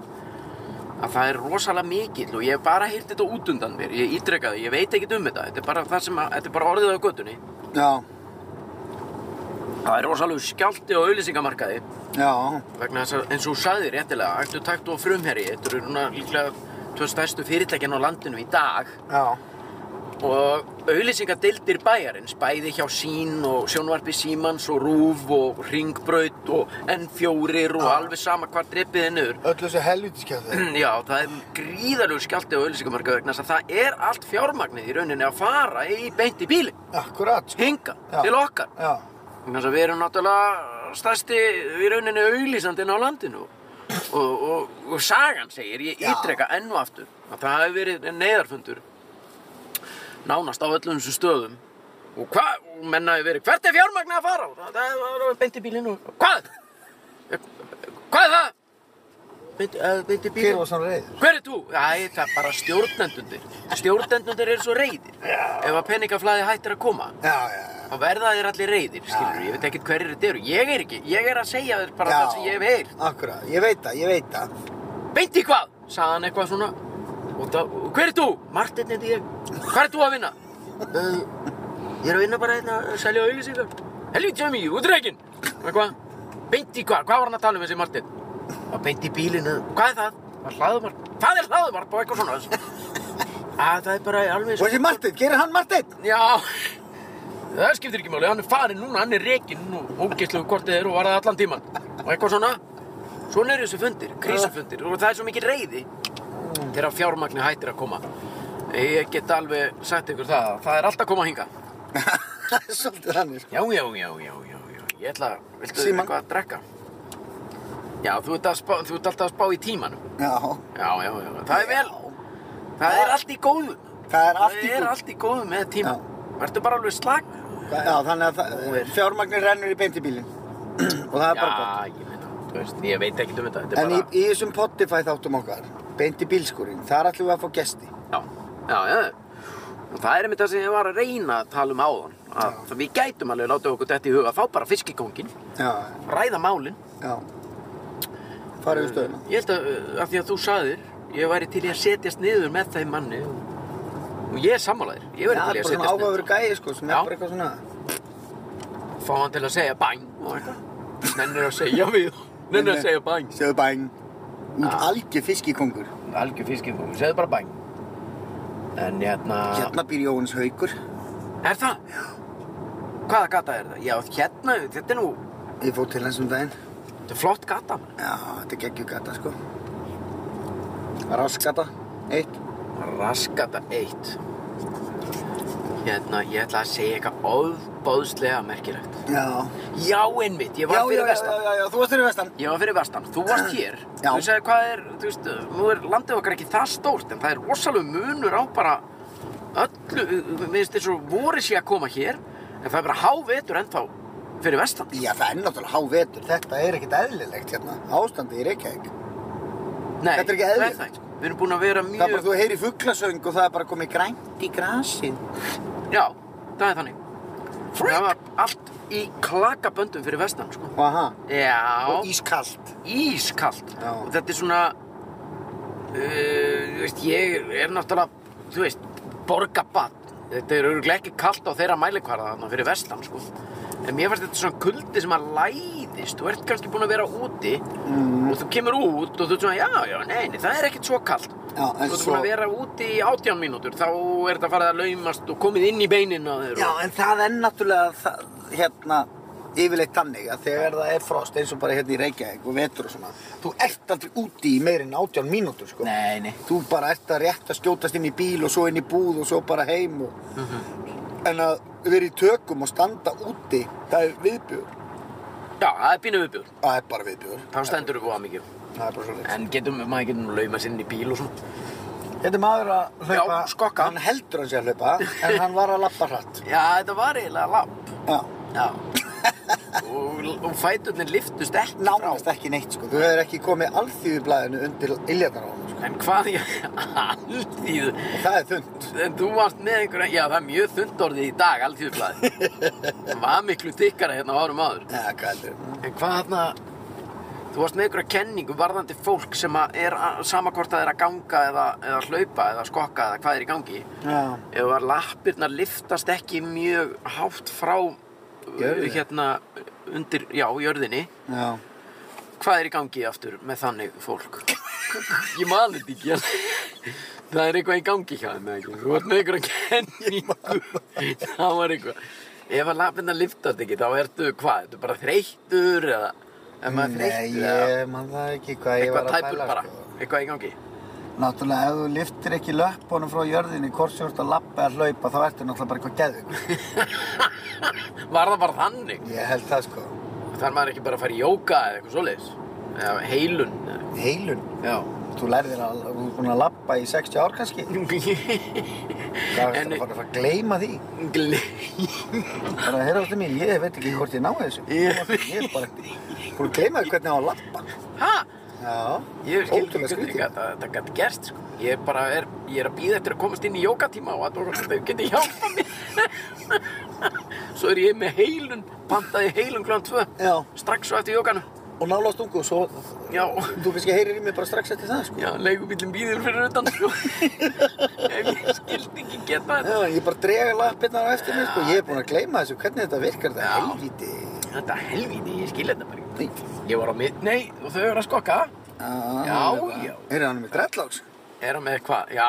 að það er rosalega mikill og ég hef bara heyrt þetta út undan mér ég ítrekaði, ég veit ekkert um þetta þetta er bara, það sem að, þetta er bara orðið á göttunni
Já,
Það er rosalega skjálti á auðlýsingamarkaði
já,
vegna þess að eins og þú sagði réttilega ættu takt og frumherji, þetta eru núna líklega tvö stærstu fyrirtækjan á landinu í dag
já.
og auðlýsingadeildir bæjarins bæði hjá sín og sjónvarpi símans og rúf og ringbraut og N4 og alveg sama hvað dreipið er niður
Öll þessu helviti skjáðu.
Já, það er gríðalegu skjálti á auðlýsingamarkaði vegna þess að það er allt fjármagnið í rauninni að fara í beint í bíli
Akkurat, sko.
hinga
Já.
til okkar
Já.
Þannig að við erum náttúrulega stærsti í rauninni auglýsandinn á landinu og, og, og sagan segir, ég
Já.
ítreka enn og aftur að það hefur verið neyðarfundur nánast á öllum þessum stöðum og hvað, og menna hefur verið, hvert er fjármagn að fara? Og Það, það var alveg beint í bílinn og hvað? Hvað er það? Beint, uh, beint í
Hver
bílinn?
var svona reyður?
Hver er þú? Æ, það er bara stjórnendundir. Stjórnendundir eru svo reyðir. Ef að peningaflæði hættir að koma
Já, já, já.
þá verða þér allir reyðir, skilur, ég veit ekkert hverjir þetta eru. Ég er ekki, ég er að segja þér bara það sem ég hef heyrt.
Akkurat, ég veit það, ég veit það.
Beint í hvað? Saði hann eitthvað svona. Og það, og hver er þú? Martin heiti ég. Hvað er þú að vinna? Uh, ég er að vinna bara hérna að selja auðlýsingar. Helvítið um ég, útreikin. Eitthvað. Beint í hvað? Hvað var hann að tala um þessi Martin? Það beint í bílinu. Hvað er það? Það er hlaðumarp. Hvað er hlaðumarp og eitthvað svona? Að, Ah, það er bara alveg
Og þessi Marteinn, gerir hann Marteinn?
Já, það skiptir ekki máli, hann er farinn núna, hann er rekinn og ógeðslegu hvort þið eru og var það allan tíman. Og eitthvað svona, svona eru þessu fundir, krísafundir og það er svo mikið reyði þegar fjármagni hættir að koma. Ég get alveg sagt ykkur það, að það er alltaf að koma hinga.
Svolítið þannig, sko.
Já, já, já, já, já, já, ég ætla að, viltu
Símann.
eitthvað að drekka? Já, þú ert, að spá, þú ert alltaf að spá í tímanum.
Já.
Já, já, já, það er vel, það er allt í góðum.
Það er allt í
Það er
góð.
allt í góðum með tíma.
Já.
Vertu bara alveg slag,
Já, þannig að
Hún er-
það- fjármagnir rennur í beint í bílinn og það er bara gott.
Já, ég veit það. Þú veist, ég veit ekkert um þetta. Þetta
En
er
í,
bara...
í þessum Spotify þáttum okkar, beint í bílskúrin, þar ætlum við að fá gesti.
Já, já, já. Og það er einmitt það sem ég var að reyna að tala um áðan. Að
Já.
það við gætum alveg láta okkur þetta í huga. Fá bara fiskikongin,
Já,
ræða málin.
já. Farið við stöðuna.
Ég held að, uh, af því að þú saðir, ég væri til í að setjast niður með þeim manni. Og og ég er sammálaðir. Ég
Já,
væri til í
bara
að
svona
setjast
áhugaveru gæi, sko, sem
Já.
er bara eitthvað svona...
Fá hann til að segja bæn og eitthvað. Nennir að segja við. Nennir að segja bæn.
Segðu bæn. Út
Já.
algjör fiskikongur.
Algjör fiskikongur, segðu bara bæn. En hérna...
Hérna býr Jóhannes Haugur.
Er það? Já. Hvaða gata er það? Já, hérna, þetta er nú,
Ég fór til hans um daginn.
þetta er flott gata. maður.
Já, þetta er geggjugata, sko. Raskata. Eitt.
Raskata 1. Hérna, ég ætla að segja eitthvað óbóðslega merkilegt.
Já.
Já, einmitt, ég
Já,
var
já,
fyrir
já, já,
vestan.
já, já, þú varst fyrir vestan.
Ég var fyrir vestan, þú varst hér.
Já.
Þú segir hvað er, þú veist, nú er landið okkar ekki það stórt, en það er rosalega munur á bara öllu, við veist, eins og voru sé að koma hér, en það er bara hávetur ennþá fyrir vestan.
Já, það er náttúrulega hávetur. Þetta er ekkert eðlilegt hérna. Ástandið í Reykjavík.
Nei,
Þetta er ekki
það
eðlilegt.
það ekki. sko. Við erum búin að vera mjög...
Það er bara, þú heyri fuglasöng og það er bara komið grænt í grasi.
Já, það er þannig. Það var allt í klakaböndum fyrir vestan, sko.
Og aha.
Já,
Og ískalt.
ískalt.
Já.
Og þetta er svona, uh, þú veist, ég er náttúrulega, þú veist, borgabatt. Þetta er örugglega ekki kalt á þeirra mælikvarða þarna fyrir vestan, sko. En mér fannst þetta svona kuldi sem að læðist. Þú ert kannski búin að vera úti og þú kemur út og þú ert svona, já, já, nei, nei, það er ekkert svo kalt.
Já,
Þú
en
ert
svo...
búin að vera úti í átján mínútur, þá er þetta farið að laumast og komið inn í beinin á þeir.
Já, en það er náttúrulega, það, hérna, yfirleitt þannig að þegar það er frost eins og bara hérna í Reykjavík og vetur og svona, þú ert aldrei úti í meirinn átján mínútur, sko.
Nei, nei.
Þú bara ert að rétt að skjótast inn í bíl og svo inn í búð og svo bara heim og... En að vera í tökum og standa úti, það er viðbjör.
Já, það er pínu viðbjör.
Það er bara viðbjör.
Þá stendur við góða mikið.
Það er bara svo
En getum, maður getur nú lauma sér inn í bíl og svona.
Þetta er maður að hlaupa...
Já, skokka.
Hann heldur hann sé að hlaupa, en hann var að lappa hratt.
Já, þetta var eiginlega lapp.
Já.
Já. og, og fæturnir liftust ekki
Nánast ekki neitt, sko. Þú hefur ekki komið alþýðublaðinu undir illjarnar á hann, sko.
frá. En hvað ég, alltíð,
Og það er þund.
en þú varst með einhverja, já það er mjög þund orðið í dag, alltíðblæði. Það var miklu þykkara hérna á árum áður.
Já, hvað heldur þér?
En hvað hérna, þú varst með einhverja kenningu varðandi fólk sem að er að- sama hvort að það er að ganga eða, eða hlaupa eða skokka eða hvað er í gangi.
Já.
ef að lappirnar liftast ekki mjög hátt frá
Jörðu.
uh, hérna undir, já, jörðinni
Já.
hvað er í gangi aftur með þannig fólk? ég man þetta ekki alveg. það er eitthvað í gangi hjá þeim eða ekki? þú vart með einhverja kenningu það var eitthvað ef að lappirnar liftast ekki þá ertu hvað, ertu bara þreyttur eða ef maður er
Nei,
þreyttur eða
ég man það ekki hvað ég var
eitthvað
að
tæpur
pæla,
bara,
sko.
eitthvað í gangi
Náttúrulega, ef þú liftir ekki löppunum frá jörðinni, hvort sem þú ert að lappa eða hlaupa, þá ertu náttúrulega bara eitthvað geðvig.
var það bara þannig?
Ég held það, sko.
þar maður ekki bara að fara í jóka eða eitthvað svoleiðis eða heilun eða
Heilun.
Já.
Þú lærðir að, þú er búin að lappa í 60 ár kannski. Hvað
En-
ertu að fara að fara að gleyma því?
Gle...
Bara, heyrðu alltaf mín, ég veit ekki hvort ég náði þessu.
Ég-
Ég er bara ekki. Þú er að gleyma því hvernig á að lappa.
Ha?
Já.
Ég skil ekki
Ótrúlega
hvernig
skrítið.
þetta þetta gæti gerst, sko. Ég er bara, er, ég er að býða eftir að komast inn í jókatíma og að þau geti hjálpað mér. Svo er ég með heilun, pantaði heilun klán 2,
Já.
strax svo eftir jókanu.
Og nála á stungu, svo...
Já.
Þú kannski heyrir í mig bara strax eftir það, sko.
Já, leigubílinn býður fyrir utan, sko. Ef ég skildi ekki geta þetta.
Já, ég bara drega lappirnar á eftir mér, sko. Ég er búinn að gleyma þessu, hvernig þetta virkar þetta
Já.
helvíti.
Þetta er helvíti, ég skil þetta bara ekki.
Nei.
Ég var á mið, nei, og þau eru að skokka. Já, já.
Er hann með dreadlocks?
Er það með hvað? Já.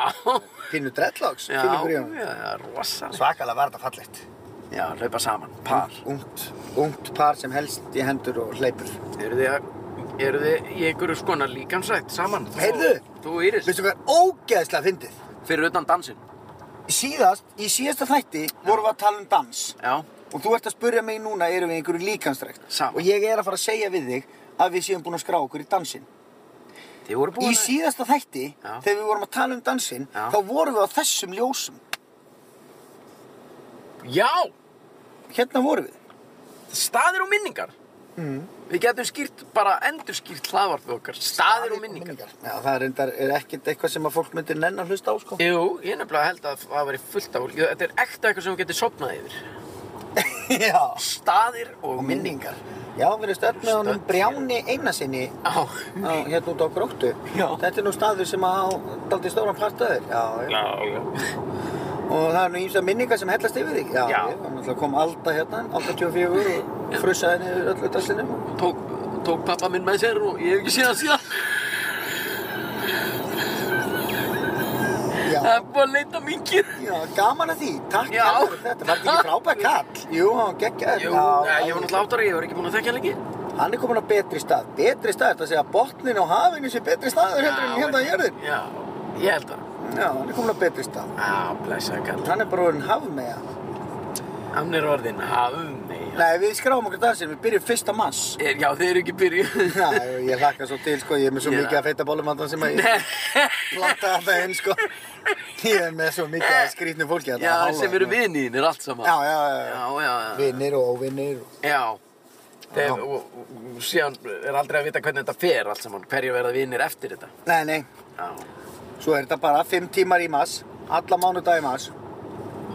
Pínu dreadlocks?
Já,
Pínu
já,
grjón.
það er rosalega.
Svakalega var þetta fallegt.
Já, hlaupa saman, par.
Ungt, ungt par sem helst í hendur og hleypur.
Eru þið, að- eru þið í einhverju skona líkamsrætt saman? Þú-
Heyrðu!
Þú Íris,
Veistu hvað er ógeðslega fyndið?
fyrir utan dansinn.
Síðast, í síðasta þætti vorum við að tala um dans.
Já,
Og þú ert að spurja mig núna, erum við í einhverju líkanstrekt?
Sama.
Og ég er að fara að segja við þig að við séum búin að skrá okkur í dansinn.
þið voru búin
Í síðasta þætti,
Já.
þegar við vorum að tala um dansinn,
Já.
þá vorum við á þessum ljósum.
Já,
hérna vorum við.
Staðir og minningar.
Mm.
Við getum skýrt, bara endur skýrt hlaðvarpið okkar. Staðir og minningar.
Já, það er, reyndar, er ekkert eitthvað sem að fólk myndir nenn að hlusta á, sko.
Jú, ég nefnilega held að það væri fullt af fólki. Þetta er ekta eitthvað sem við getum sopnað yfir.
Já.
Staðir
Og
og, minningar.
minningar. Já, við erum stödd með honum
Stödd hér.
Brjáni Einarsinni
Á,
á, hérna út á Gróttu.
Já.
Þetta er nú staður sem að á daldi stóran partöður. Já, já.
já, já.
Og það er nú ímsa minningar sem hellast yfir þig. Já.
Já.
Ég var náttúrulega kom Alda hérna, 84 og frussaði niður öllu draslinum.
Tók, tók pappa minn með sér og ég hef ekki séð það síðan.
Já.
Það er búið að leita mingir.
Já, gaman að því. Takk
Já.
fyrir þetta. Var þetta ekki frábæð kall? Jú, hann geggjaður.
Jú, já, ég var náttúrulega áttara, ég var ekki búin að þekka hann lengi.
Hann er komin á betri stað. Betri stað, þetta segja að botnin á hafinu sé betri staður heldur en hérna að jörðin.
Já, ég held að.
Já, hann er komin á betri stað.
Já, blessa kall.
Hann er bara orðin hafmeja.
Hann er orðinn hafni.
Nei, við skráum okkur dansinn, við byrjum fyrsta mass.
Er, já, þeir eru ekki byrjuð.
Já, ég hlakka svo til, sko, ég er með svo
Ég-
mikið að feita bólumandan sem að ég planta þetta inn, sko. Ég er með svo mikið að skrýtnu fólki að
Já, sem eru vinnin er allt saman.
Já, já, já.
já, já.
Vinnir og óvinnir. og-
Já. Þeir,
Já.
og, og, og síðan er aldrei að vita hvernig þetta fer allt saman. Hverju verða vinnir eftir þetta.
Nei, nei,
Já.
svo er þetta bara fimm tímar í mass, alla mánudag í mass.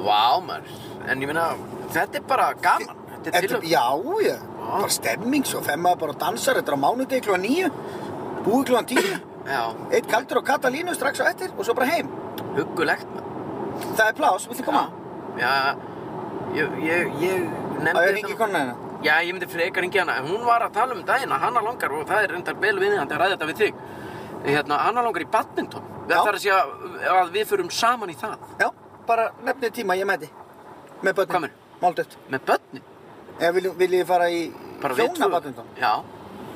Vá, maður. En ég meina, þetta er bara gaman. Þetta er
Þetta,
til að...
já, já, bara stemming svo, fer maður bara og dansar, þetta er á mánudegi klúan níu, búi klúan tíu,
Já,
eitt kaldur og Katalínu strax á eftir og svo bara heim.
huggulegt, maður.
Það er plás, viltu koma?
Já, ég, ég, ég nefndi
Það er ekki konan hennar.
Já, ég myndi frekar ringi hana. Hún var að tala um daginn að hana langar, og það er reyndar vel við hann til að ræða þetta við þig. Hérna, hana langar í badminton.
Já.
Það þarf að segja að við förum saman í það.
Já, bara nefnið tíma, ég mæti. Með börnum.
Hvað meinarðu?
Máldöft.
Með börnin.
Eða viljið vilji þið fara í
Bara við
hjóna badminton?
Já.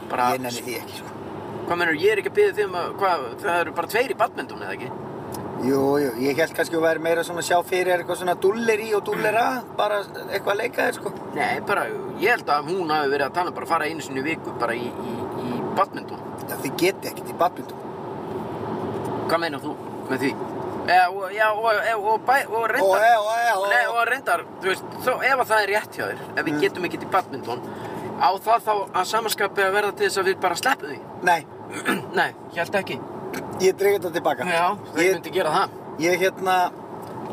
Bara,
Ég nenni því ekki, sko.
Hvað mennur, ég er ekki að byggja þig um að, hvað, það eru bara tveir í badminton, eða ekki?
Jú, jú, ég held kannski að vera meira svona að sjá fyrir þér eitthvað svona dulleri og dullera, bara eitthvað að leika þér, sko.
Nei, bara, ég held að hún hafi verið að tala um bara að fara einu sinni í viku bara í, í, í badminton.
Já, þið geti ekkert í badminton.
Hvað meinar þú með því? Já, og, já, og, og, og, bæ, og
Ó,
reyndar,
e, ó, e, ó.
nei, og reyndar, þú veist, þó, ef að það er rétt hjá þér, ef
Mm.
við getum ekki til badminton, á það þá að samanskapi að verða til þess að við bara sleppum því.
Nei,
nei, ég held ekki.
ég dreg þetta tilbaka.
Já, þau
ég,
myndi gera það.
ég, hérna,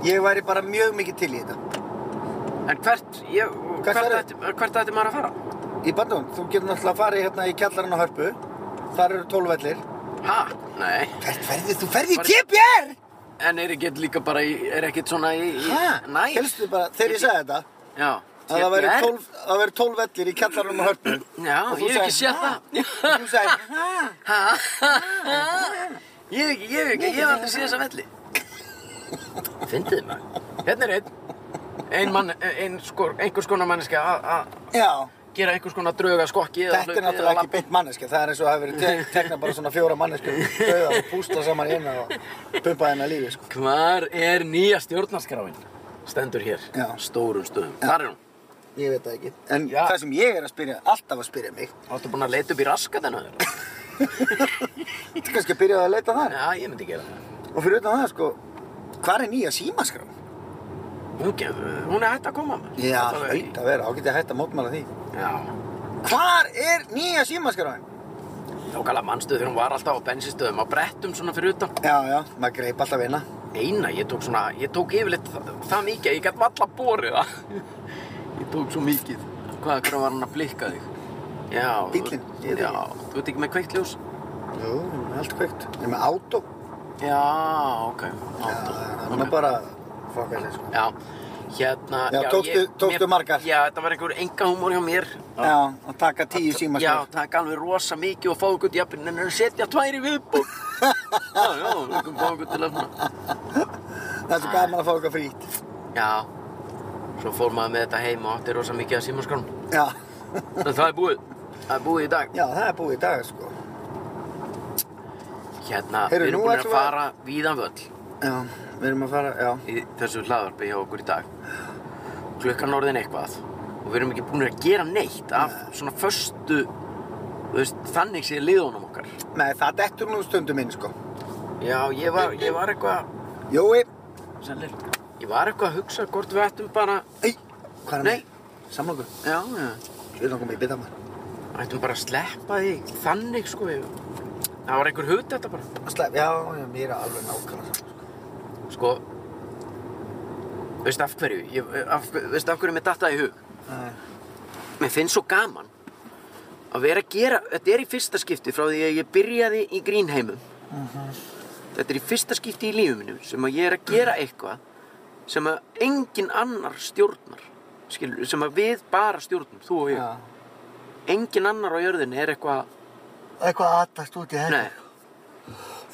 ég væri bara mjög mikið til í þetta.
En hvert, ég, hvert,
verður?
ætti- hvert ætti maður að fara?
Í badminton, þú getur náttúrulega farið hérna í kjallarinn á Hörpu. Þar eru tólvellir.
Ha? Nei.
Hvert ferðið? Þú ferðið í
Bara-
TBR!
En er ekkert líka bara í, er ekkert svona í, í
Hæ?
næ?
Helstu bara, þegar ég sagði þetta,
Já.
að það væri
Hérna er-
12, það væri 12 vellir í kjallarum og hörnum.
Já,
Og þú
ég hef ekki
sagðir,
séð
"Ha?"
það.
Þú sagði, hæ?
Ha? Ég hef ekki, ég hef ekki, ég hef aldrei séð þessa velli. Fyndið maður. Hérna er einn, ein mann, ein skor, einhvers konar manneska að- að
Já,
gera einhvers konar drauga skokki eða
þetta
hlaupi
er
eða
náttúrulega
labba.
ekki beint manneski. Það er eins og það hefur verið tekna bara svona fjóra manneski döða og pústa saman inn og bumpa hennar lífi, sko.
Hvar er nýja stjórnarskráin? Stendur hér,
Já.
stórum stöðum. Þar er hún.
Ég veit það ekki. En
Já.
það sem ég er að spyrja, alltaf að spyrja mig,
Áttu búin að leita upp í raska þennan þér?
þetta er kannski að byrja að leita þar.
Já, ég myndi gera það.
Og fyrir utan það, sko, hvað er nýja símaskrá?
Hún, gefur- hún er hægt að koma maður.
Já,
Þetta var-
hlaut að vera, á getið hægt að mótmála því.
Já.
Hvar er nýja símaskráin?
Nákvæmlega mannstu þegar hún var alltaf á bensinstöðum á brettum svona fyrir utan.
Já, já, maður greip alltaf vina.
Eina, ég tók svona, ég tók yfirleitt það, það mikið, að ég gæti valla borið það. Ég tók svo mikið. Hvað, hvernig var hann að blikka þig? Já.
Bíllinn, ég veit
Já,
ekki.
þú ert ekki með kveikt ljós?
Jú, allt kveikt. Ég er með átó.
Já, ok. Átó.
Það er bara fokkast eins og.
Já, hérna.
Já, tókstu-
ég-
tókstu
mér-
margar?
Já, þetta var einhver enga húmór hjá mér.
Já, að taka tíu síma
Já, takk alveg rosa mikið og fáið gutt í appinu en setja tværi viðbúk. já, já, við fáið gutt til að svona.
Það er svo gaman að fá eitthvað frýtt.
Já, svo fór maður með þetta heim og átti rosa mikið að símaskrán.
Já.
En það er búið. Það er búið í dag.
Já, það er búið í dag, sko.
Hérna,
Heyrðu,
við erum
nú
búin að
ætlum við að-
fara víðan völl
Já, við erum að fara, já.
í þessu hlaðarpi hjá okkur í dag. Klukkan orðin eitthvað og við erum ekki búin að gera neitt af svona föstu, þú veist, þannig sé liðunum okkar.
Nei, það dettur nú stundum inn, sko.
Já, ég var, ég var eitthvað,
Jói.
sælir, ég var eitthvað að hugsa hvort við ættum bara,
Í, hvað er
nei,
með? samlokur.
Já, já.
Ég langar mig í bita maður.
Ættum bara að sleppa því þannig sko. ég- Það var einhver hugd þetta bara.
Slepp, já, já, mér er alveg nákvæmlega saman.
Sko, veist af hverju? Ég, af, veist af hverju mér datta í hug?
Nei.
Mér finnst svo gaman að vera að gera, þetta er í fyrsta skipti frá því að ég byrjaði í grínheimum.
Mhm.
Þetta er í fyrsta skipti í lífuminu sem að ég er að
Mhm.
gera eitthvað sem að engin annar stjórnar, skilur, sem að við bara stjórnum, þú og ég.
Já.
Engin annar á jörðinni er eitthvað,
Eitthvað aðtast út í henni.
nei,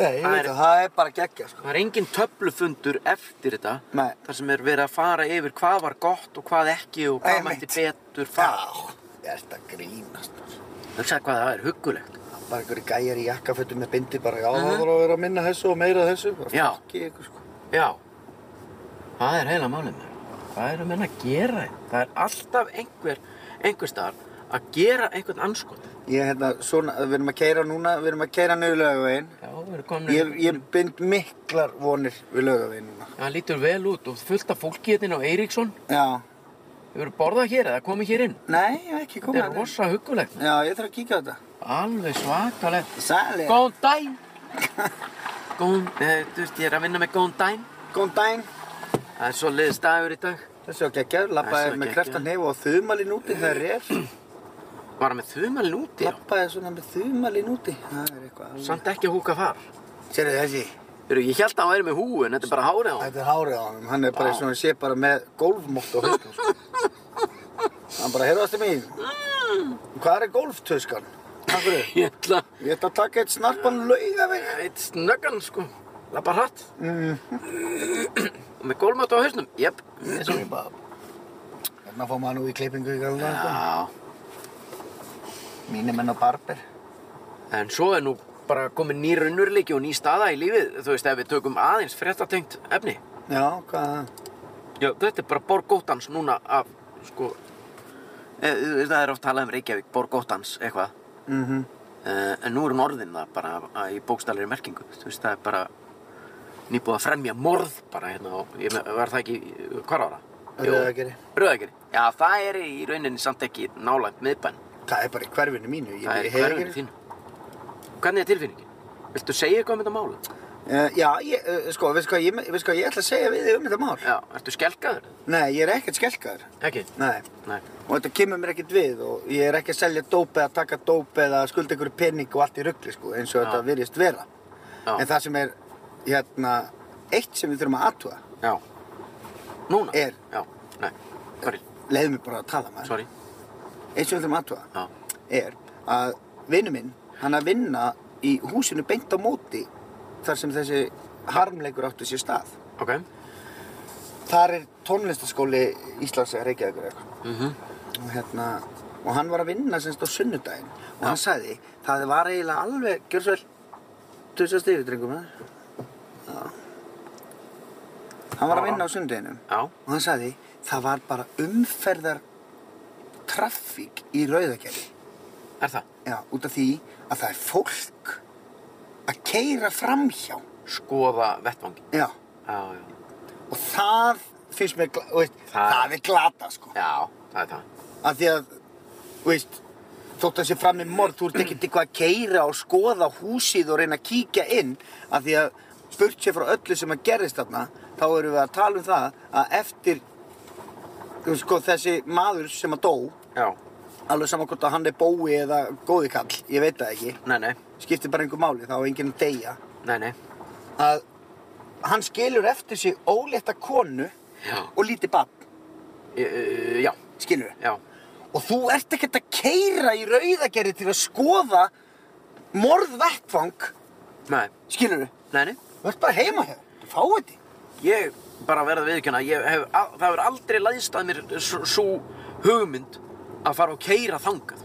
Nei, ég
Það
veit
er-
að það er bara geggja, sko.
það er engin töflufundur eftir þetta
Nei.
þar sem er verið að fara yfir hvað var gott og hvað ekki og hvað
Einmitt.
mætti betur fara.
Já, ég ert að grínast. sko. maður.
Hugsaðu hvað það er huggulegt.
Bara einhverju gæjar í jakkafötum með bindi bara, já, það voru að vera að minna þessu og meira þessu. Bara
Mhm. Já.
Fokki ykkur, sko.
Já, það er heila málið mér. Hvað eru menn að gera? þetta? Það er alltaf einhver, einhver starf að gera einhvern anskot.
Ég, hérna, svona, við erum að keira núna, við erum að keira niður laugavegin.
Já, við erum komin.
Ég, ég bind miklar vonir við laugavegin núna.
Það lítur vel út og fullt af fólki hérna á Eiríksson.
Já.
Við erum borðað hér eða komið hér inn.
Nei, ég hef ekki komið.
Þetta er rosa huggulegt.
Já, ég þarf að kíkja á þetta.
Alveg svakalegt.
Sæli.
Góðan dæn! Góðan, eh, þú veist, ég er að vinna með góðan dæn.
Góðan daginn.
Það er svo liðist dagur í dag.
Þessi á geggjaður,
Þessi
lappaði
var
með
geggjaður.
kreftan hef og þumalinn úti þegar er.
Bara með þumalinn úti, já.
Lappaði svona með þumalinn úti. Það er eitthvað alveg.
Samt ekki að húka far.
Sérðu þessi?
Heyrðu, Ég held að hann væri með húu, en þetta er bara hárið á hann.
Þetta er hárið á hann, hann er bara eins og hann sé bara með golfmótt á hausnum. sko. hann bara, heyrðast þið mín, hvað er golftöskan? Takk fyrir,
Ég ætla að
ég ætla að taka eitt snarpan laugaveg.
Eitt snöggan sko, lappa hratt Mm. og með gólmátt á hausnum, jöp
Ég svo ég bara, hérna fór maður nú í klippingu í galna, sko.
Já,
Mínir menn og barber.
en svo er nú bara komið ný raunurleiki og ný staða í lífið þú veist, ef við tökum aðeins fréttatengt efni
Já, hvað er það?
Já, þetta er bara borgóttans núna af, sko e, þú veist, það er oft talað um Reykjavík, borgóttans, eitthvað
Mhm.
e, en nú er hún orðin það bara að, að, í bókstalleri merkingu, þú veist, það er bara nýbúið að fremja morð bara hérna og ég me- var það ekki, hvað ára? Jú.
Rauðagerði.
Rauðagerði. Já, það er í rauninni samt ekki nálægt miðbæn.
Það er bara í hverfinu mínu, ég
Það er í
ég hef
hverfinu þínu. Hvernig er tilfinningin? Viltu segja eitthvað um þetta mála?
Eh, já, ég, eh, sko, veistu hvað, ég, veistu hvað ég ætla að segja við þig um þetta mál?
Já, ertu skelkaður?
Nei, ég er ekkert skelkaður.
Ekki?
Nei.
Nei.
og þetta kemur mér ekkert við og ég er ekki að selja dóp eða taka dóp eða skulda ykkur pening og allt í ruggli sko, eins og
Já.
þetta virðist vera
Já.
en það sem er hérna, eitt sem við þurfum að atúa
Já. Núna?
Er.
Já. Nei. Sorry.
leiðum við bara að tala maður
Sorry.
eitt sem við þurfum að atúa
Já.
er að vinnu minn hann að vinna í húsinu beint á móti þar sem þessi harmleikur áttu sér stað
Ok.
þar er tónlistaskóli Íslands eða Reykjavíkur eða eitthvað
Mhm.
og hérna og hann var að vinna semst á sunnudaginn og hann sagði það var eiginlega alveg gjör svo vel tussa stífi drengum eh? Já. hann var að vinna á sunnudaginnum
Já.
og hann sagði það var bara umferðar traffík í rauðagerði
Er það?
já, út af því að það er fólk að keira framhjá
Skoða vettvangin.
já,
Já, já.
og það finnst mér gla- þú veist,
Það-
það, er glata sko
Já, það er það.
að því að, þú veist, þótt að sé fram í morð, þú ert ekkert eitthvað að keira og skoða húsið og reyna að kíkja inn, að því að spurt sér frá öllu sem að gerðist þarna, þá erum við að tala um það að eftir, þú veist, sko, þessi maður sem að dó,
Já.
alveg saman hvort að hann er bói eða góði kall, ég veit það ekki,
Nei, nei.
skiptir bara einhver máli, þá er enginn að deyja,
Nei, nei.
að hann skilur eftir sig ólétta konu
Já.
og lítið barn,
E, e, já.
skilur við.
Já.
Og þú ert ekkert að keira í rauðagerði til að skoða morðvettvang,
Nei.
skilur við?
Nei, nei.
Þú ert bara heima hér, þú fáið þetta.
Ég bara verða viðkjöna, hef, al- það hefur aldrei læðst að mér svo hugmynd að fara og keira þangað.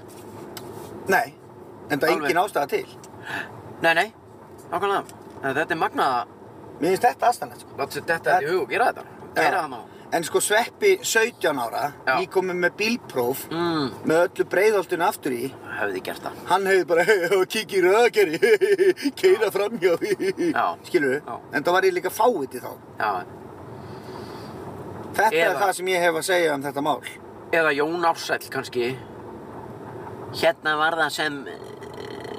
Nei, en það er
Alveg.
engin ástæða til.
Nei, nei, nákvæmlega. En Þetta er magnaða,
Mér finnst þetta aðstæðan, sko.
látt sér þetta í hug og gera þetta. Keira
Já.
hann á.
En sko Sveppi 17 ára,
Já.
ég komið með bílpróf,
Mm,
með öllu breiðoltinu aftur í,
hefði gert það.
hann hefði bara, hei, kikið í rauðagerði, keira framhjá,
Já.
skilur við?
Já.
En það var ég líka fáið þetta þá.
Já,
Þetta er
Eva.
það sem ég hef að segja um þetta mál.
eða Jón Ársæll kannski hérna var það sem uh,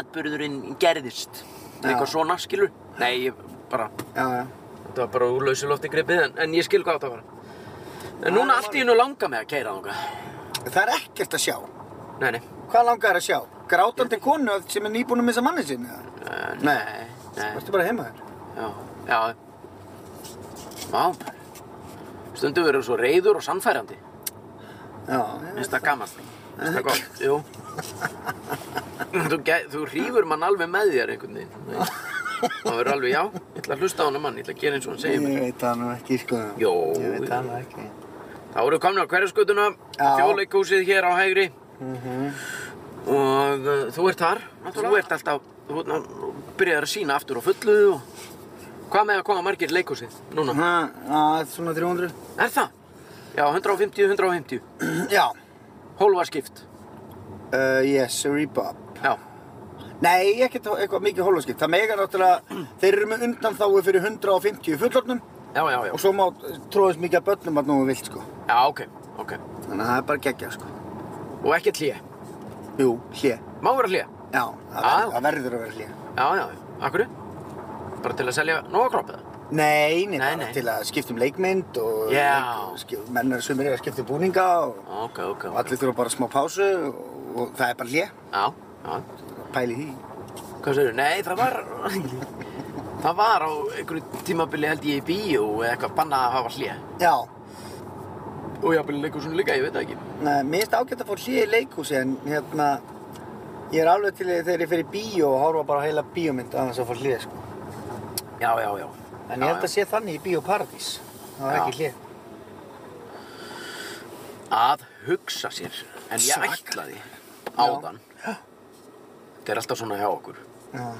atbyrðurinn gerðist
Já.
eitthvað svona skilu nei, ég bara,
Já, já.
þetta var bara úr lausulofti gripið en, en ég skil hvað þetta var en núna allt í hennu langa mig að keira þangað
Það er ekkert að sjá.
nei, nei,
Hvað langar að sjá? Grátandi konu sem er nýbúin að missa manni sinni? eða?
Eh,
Nei.
nei.
Varstu bara heima þér?
já, já má stundum verður svo reyður og sannfærandi
Já. já.
finnst það gaman finnst það gott, jú þú, gæ- þú hrýfur mann alveg með þér einhvern veginn það verður alveg já ég ætla að hlusta á hann mann, ég ætla að gera eins og hann segir mér
Ég veit það nú ekki, sko.
Jó.
Ég veit það nú ekki.
þá eru komin á hverjaskutuna
Já.
þjóðleikúsið hér á hægri og uh, þú ert þar þú ert alltaf þú ná, byrjar að sína aftur á fullu og hvað með að koma margir í leikhúsið núna,
Ha, Það er svona 300.
er það? já, 150, 150
Já.
hólfa skipt,
Uh, yes, sorry Bob.
já,
Nei, ekkert eitthvað mikið hólaskipt. Það mega náttúrulega, þeir eru með undanþáu fyrir 150 fullornum
já, já, já
og svo má tróðast mikið að börnum að nógu vilt, sko.
já, ok, ok
Þannig að það er bara geggja, sko.
og ekkert hlýja,
Jú, hlje.
má vera hlýja
Já, það,
Já.
ver, það verður að vera hlje.
Já, já, akkurru? Bara til að selja nóga kroppið?
Nei, nei,
Nei,
bara
nei.
til að skipta um leikmynd og
Já.
og skip- menn er sumir eru að skipta um búninga og,
Ok, ok,
og allir þurfa bara smá pásu og, og það er bara hlje,
Já, já.
pæli því.
Hvað segirðu? Nei, það var... það var á einhverju tímabili held ég í bíó eða eitthvað bannað að hafa hlýja.
Já,
Og jafnvel leikur svona líka, ég veit það ekki.
nei, mér finnst ágætt að fá hlje í leikhúsi en hérna, ég er alveg til í- þegar ég fer í bíó og horfa bara á heila bíómynd að þess að fá hlje sko.
Já, já, já.
En ég held að sé þannig í bíóparadís, það er
Já.
ekki hlje.
Að hugsa sér. En ég
Svaka.
ætlaði áðan. Þetta er alltaf svona hjá okkur.
Já,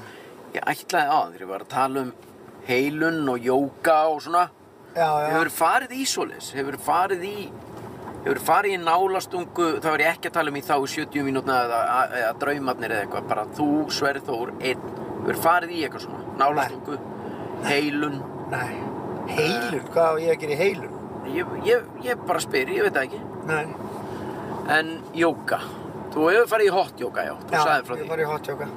Ég ætlaði áðan þegar ég var að tala um heilun og jóka og svona.
já, já.
Hefur farið í svoleiðis, hefur farið í, hefur farið í nálastungu, þá er ég ekki að tala um í þá 70 mínútna eða, eða draumarnir eða eitthvað, bara þú, Sverðór, einn, hefur farið í eitthvað svona, nálastungu, heilun,
Nei, heilun, hvað á ég að gera í heilun?
ég, ég, ég bara spyr, ég veit það ekki,
Nei.
en jóka, þú hefur farið í hot jóka, já, þú sagði frá
Já,
því.
ég var í hotjóka.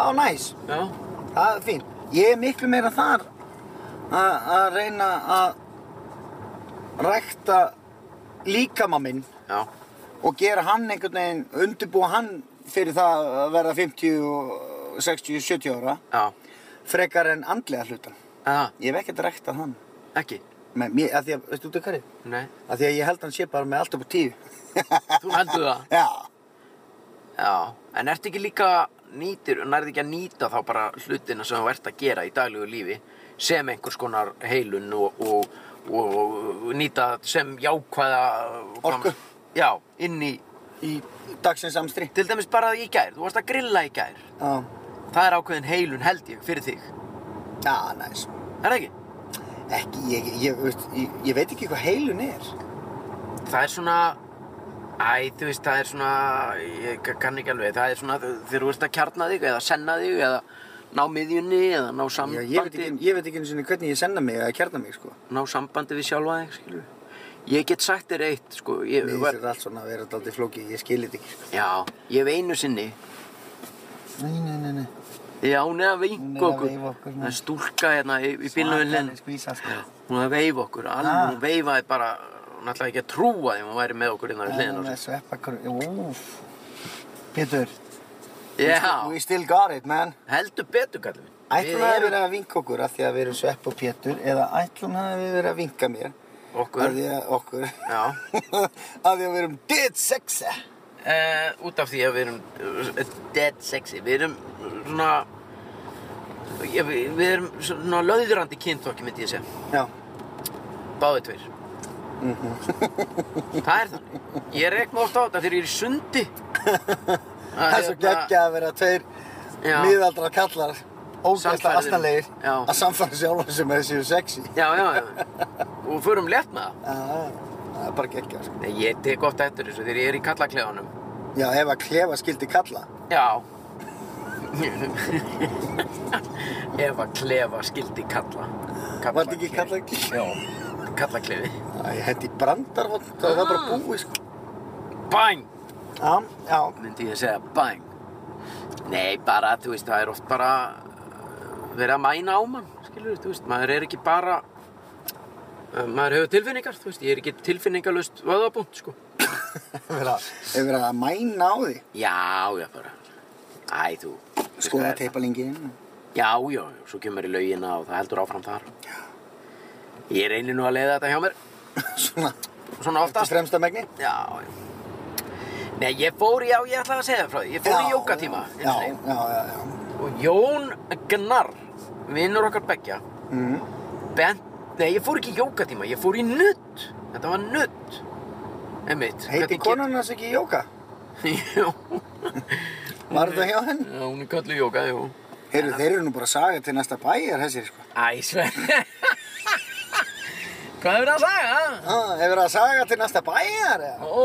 Já, næs.
Já,
Það er fín. Ég er miklu meira þar að að reyna að rækta líkama minn
já,
og gera hann einhvern veginn, undirbúa hann fyrir það að verða 50, og 60, 70 ára
já,
frekar en andlega hlutan.
eða,
Ég hef ekkert ræktað hann.
ekki,
Með mér, að því að, veistu út af hverju?
nei,
Að því að ég held hann sé bara með allt upp á tíu.
þú heldur það.
Já.
Já, en ertu ekki líka nýtir, nærðu ekki að nýta þá bara hlutina sem þú ert að gera í daglegu lífi sem einhvers konar heilun og, og, og, og nýta sem jákvæða uh,
Orku.
Já, inn í,
Í dagsins amstri.
til dæmis bara í gær, þú varst að grilla í gær
Já.
Það er ákveðin heilun held ég fyrir þig,
Já, næs.
er það ekki?
Ekki, ég, ég, veist, ég, ég veit ekki hvað heilun er.
Það er svona, æ, þú veist, það er svona, ég kann ekki alveg, það er svona þegar þú ert að kjarna þig eða senna þig eða ná miðjunni eða ná
Já,
sambandi
ég veit ekki, um ég veit ekki einu sinni hvernig ég senna mig eða kjarna mig, sko.
ná sambandi við sjálfa þig, skilur Ég get sagt þér eitt, sko, ég
Mér
var,
finnst þetta allt svona að vera daldið flókið, ég skilir þetta ekki, sko.
já, ég hef einu sinni,
Nei, nei, nei, nei.
já, hún er
Hún
að veika
er að
okkur,
veifa okkur,
það
nei.
er stúlka hérna í, í bílnöðin,
Skvísa, sko.
hún er að veifa okkur, alveg,
Ah.
hún veifaði bara, hún ætlaði ekki að trúa því að hún væri með okkur hérna við hliðin
Það
og
er sveppakur, úf. Pétur. We
já,
still got it, man.
heldur betur, kallum við,
Ætlum
við
það að
erum
vera að vinka okkur af því að við erum svepp og Pétur eða ætlum það að vera að vinka mér af
okkur,
því að okkur
já,
af því að við erum dead sexa.
uh, út af því að við erum eh, dead sexy, við erum eh, svona, ég, við við erum svona löðrandi kynþokki, myndi ég segja.
Já.
Báði tveir. það er þannig. Ég reik mig oft á þetta þegar ég er í sundi. hérna-
Það er svo geggja að vera tveir
Já.
miðaldra kallar ógeðslega
Sannfærðir.
astanlegir
Já.
að samfæra sjálfum sem þessi er sexy.
Já, já, já. Og förum létt með það.
Já, það er bara geggja sko.
Nei, ég tek ofta eftir þessu þegar ég er í kallaklefanum.
Já, ef að klefa skildi kalla
Já. Ef að klefa skildi kalla.
Var þetta ekki
Kallaklefi. Já, kallaklefi.
Æ, þetta í brandarvotn, það var
Ah.
bara búið sko.
Bang!
Já, já,
myndi ég segja bang nei bara þú veist það er oft bara uh, verið að mæna á mann skilur þú veist maður er ekki bara uh, maður hefur tilfinningar þú veist ég er ekki tilfinningalust vöðabúnt sko
hefur verið að- hefur verið að mæna á því.
já já bara æ þú veist hvað
Skoða
er það?
teipalingin.
já já já, svo kemur í laugina og það heldur áfram þar ég reynir nú að leiða þetta hjá mér
Svona,
svona
eftir
oftast
fremsta megni.
já já Nei, ég fór, já, ég ætlaði að segja það frá því, ég fór í
Já,
jókatíma. einu
Já,
sinni.
já, já, já.
Og Jón Gnarr, vinnur okkar beggja,
Mm.
bent, nei ég fór ekki í jókatíma, ég fór í nutt. Þetta var nutt. Einmitt.
Heiti
hvernig
konan hans ekki Jóka?
get- Jú.
Var þetta hjá henn?
Já, hún er kallu jóka, jú.
Heyrðu, þeir eru nú bara að saga til næsta bæjar þessir sko.
Æ, Sven. Hvað hefur það að sagja?
Ah, hefur verið að saga til næsta bæjar eða?
Ó.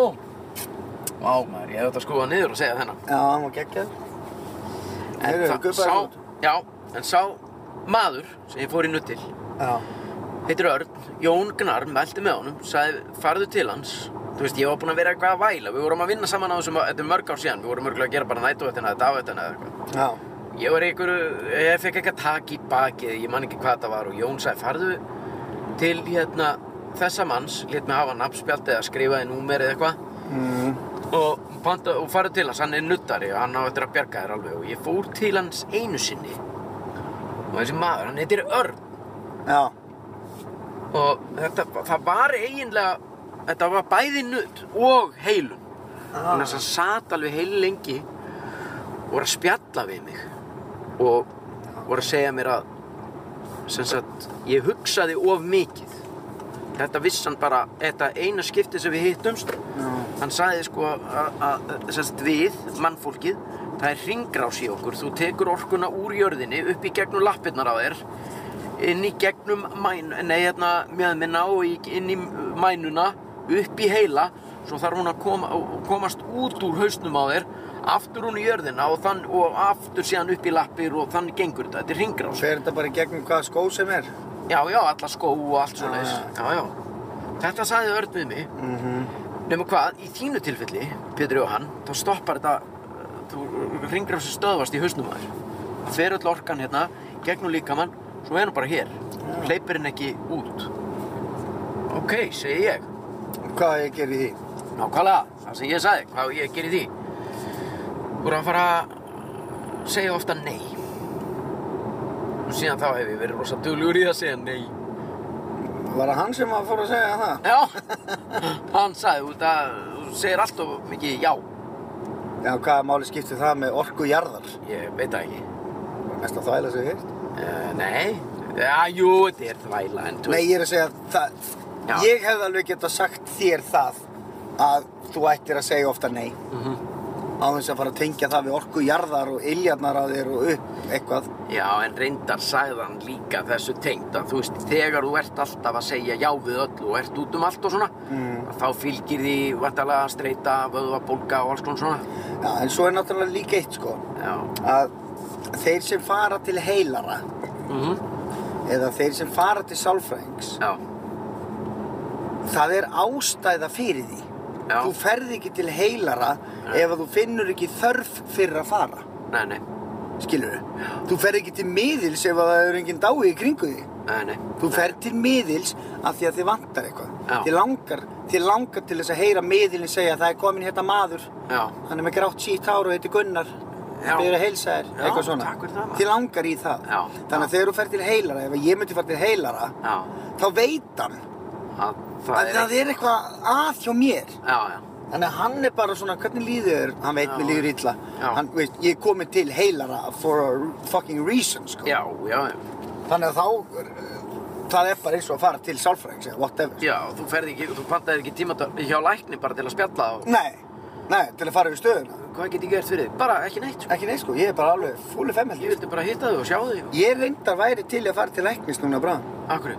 Vá, maður, ég hef þetta skoðað niður og segja þennan.
Já, hann var geggjað. Heyrðu,
það-
gubbaður
sá,
út.
já, en sá maður sem ég fór í nutt til,
Já,
heitir Örn, Jón Gnarr meldi með honum, sagði farðu til hans þú veist, ég var búinn að vera eitthvað að væla við vorum að vinna saman á þessum, þetta er mörg ár síðan við vorum örgulega að gera bara nætuvættina eða dagvættina eða eitthvað
já,
ég var í einhverju, ég fekk eitthvað tak í bakið ég man ekki hvað það var og Jón sagði farðu til hérna þessa manns, lét mig hafa nafnspjald eða skrifaði númer eða eitthvað
mm.
og, panta, og farið til hans, hann er nuttari og hann á eftir að bjarga þér alveg og ég fór til hans einu sinni og þessi maður, hann heitir Örn
já,
og þetta, það var eiginlega þetta var bæði nutt og heilun
Ah.
þannig að hann sat alveg heil lengi og var að spjalla við mig og var að segja mér að sem sagt, ég hugsaði of mikið þetta vissi hann bara þetta eina skipti sem við hittumst
já,
hann sagði sko að- að sem sagt, við, mannfólkið það er ringrás í okkur, þú tekur orkuna úr jörðinni upp í gegnum lappirnar á þér inn í gegnum mæn, nei, hérna, mjöðminna og í, inn í mænuna upp í heila svo þarf hún að koma, komast út úr hausnum á þér aftur hún í jörðina og, þann, og aftur síðan upp í lappir og þannig gengur þetta, þetta er ringrás
fer þetta bara í gegnum hvaða skó sem er?
já, já, alla skó og allt svo leiðis
Já,
já, já, þetta sagði Örn við mig
Mm -hmm.
Nefnum hvað, í þínu tilfelli, Pétur Jóhann, þá stoppar þetta, uh, þú ringir þessu stöðvast í hausnum að þér. Það fer öll orkan hérna, gegnum líkamann, svo er hann bara hér. Hleypir henn ekki út. Ok, segi ég.
Hvað á ég gerir því?
Nákvæmlega, það sem ég sagði, hvað á ég gerir því. Þú er að fara að segja ofta nei. Og síðan þá hef ég verið rosa duglugur í að segja nei.
Var það hann sem að fór að segja það?
Já, hann sagði, þú, það, þú segir alltof mikið já.
Já, hvaða máli skiptir það með orku jarðar?
Ég veit það ekki.
Mest að þvæla sig hitt.
Uh, nei, já, jú, þetta er þvæla en þú
Nei, ég er að segja það.
Já.
Ég hefði alveg getað sagt þér það að þú ættir að segja ofta nei. Mhm.
mm
Á þess að fara að tengja það við orku jarðar og iljarnar að þér og upp eitthvað.
Já, en reyndar sagðan líka þessu tengd að þú veist, þegar þú ert alltaf að segja já við öll og ert út um allt og svona
Mm.
þá fylgir því vantalega streyta, vöðvabólga og alls konar svona
Já, en svo er náttúrulega líka eitt sko.
Já,
að þeir sem fara til heilara
mm
Mhm. eða þeir sem fara til sálfræðings
já,
það er ástæða fyrir því
Já.
þú ferð ekki til heilara
Nei.
ef að þú finnur ekki þörf fyrir að fara
nei, nei,
skilur þú ferð ekki til miðils ef að það er enginn dái í kringu því
nei, nei
þú ferð til miðils af því að þið vantar
Já.
eitthvað þið langar, þið langar til þess að heyra miðilin segja það er komin hérna maður
Já,
hann er með grátt sítt hár og heitir Gunnar
Já.
hann byrður að heilsa þér,
Já,
eitthvað svona
takk fyrir það, maður.
þið langar í það
Já.
þannig að þegar þú fer til heilara, ef ég myndi fara til heilara
já,
þá veit hann
að, það
að það er eitthvað að hjá mér
Já, já,
þannig að hann er bara svona, hvernig líður þér hann veit
Já.
mér líður illa
Já.
hann, veist, ég er komin til heilara for a fucking reason sko.
já, já, já
þannig að þá eh, það er bara eins og að fara til sálfræðings eða whatever
Já, þú ferði ekki, þú pantaði ekki tíma hjá lækni bara til að spjalla og
nei, nei, til að fara yfir stöðuna
hvað get ég gert fyrir þig? Bara ekki neitt, sko.
ekki neitt sko, ég er bara alveg fúli
Ég
femmeldi
vildi bara hitta þig og sjá þig og...
sko. ég reyndar væri til að fara til læknis núna bráðum
Akkur,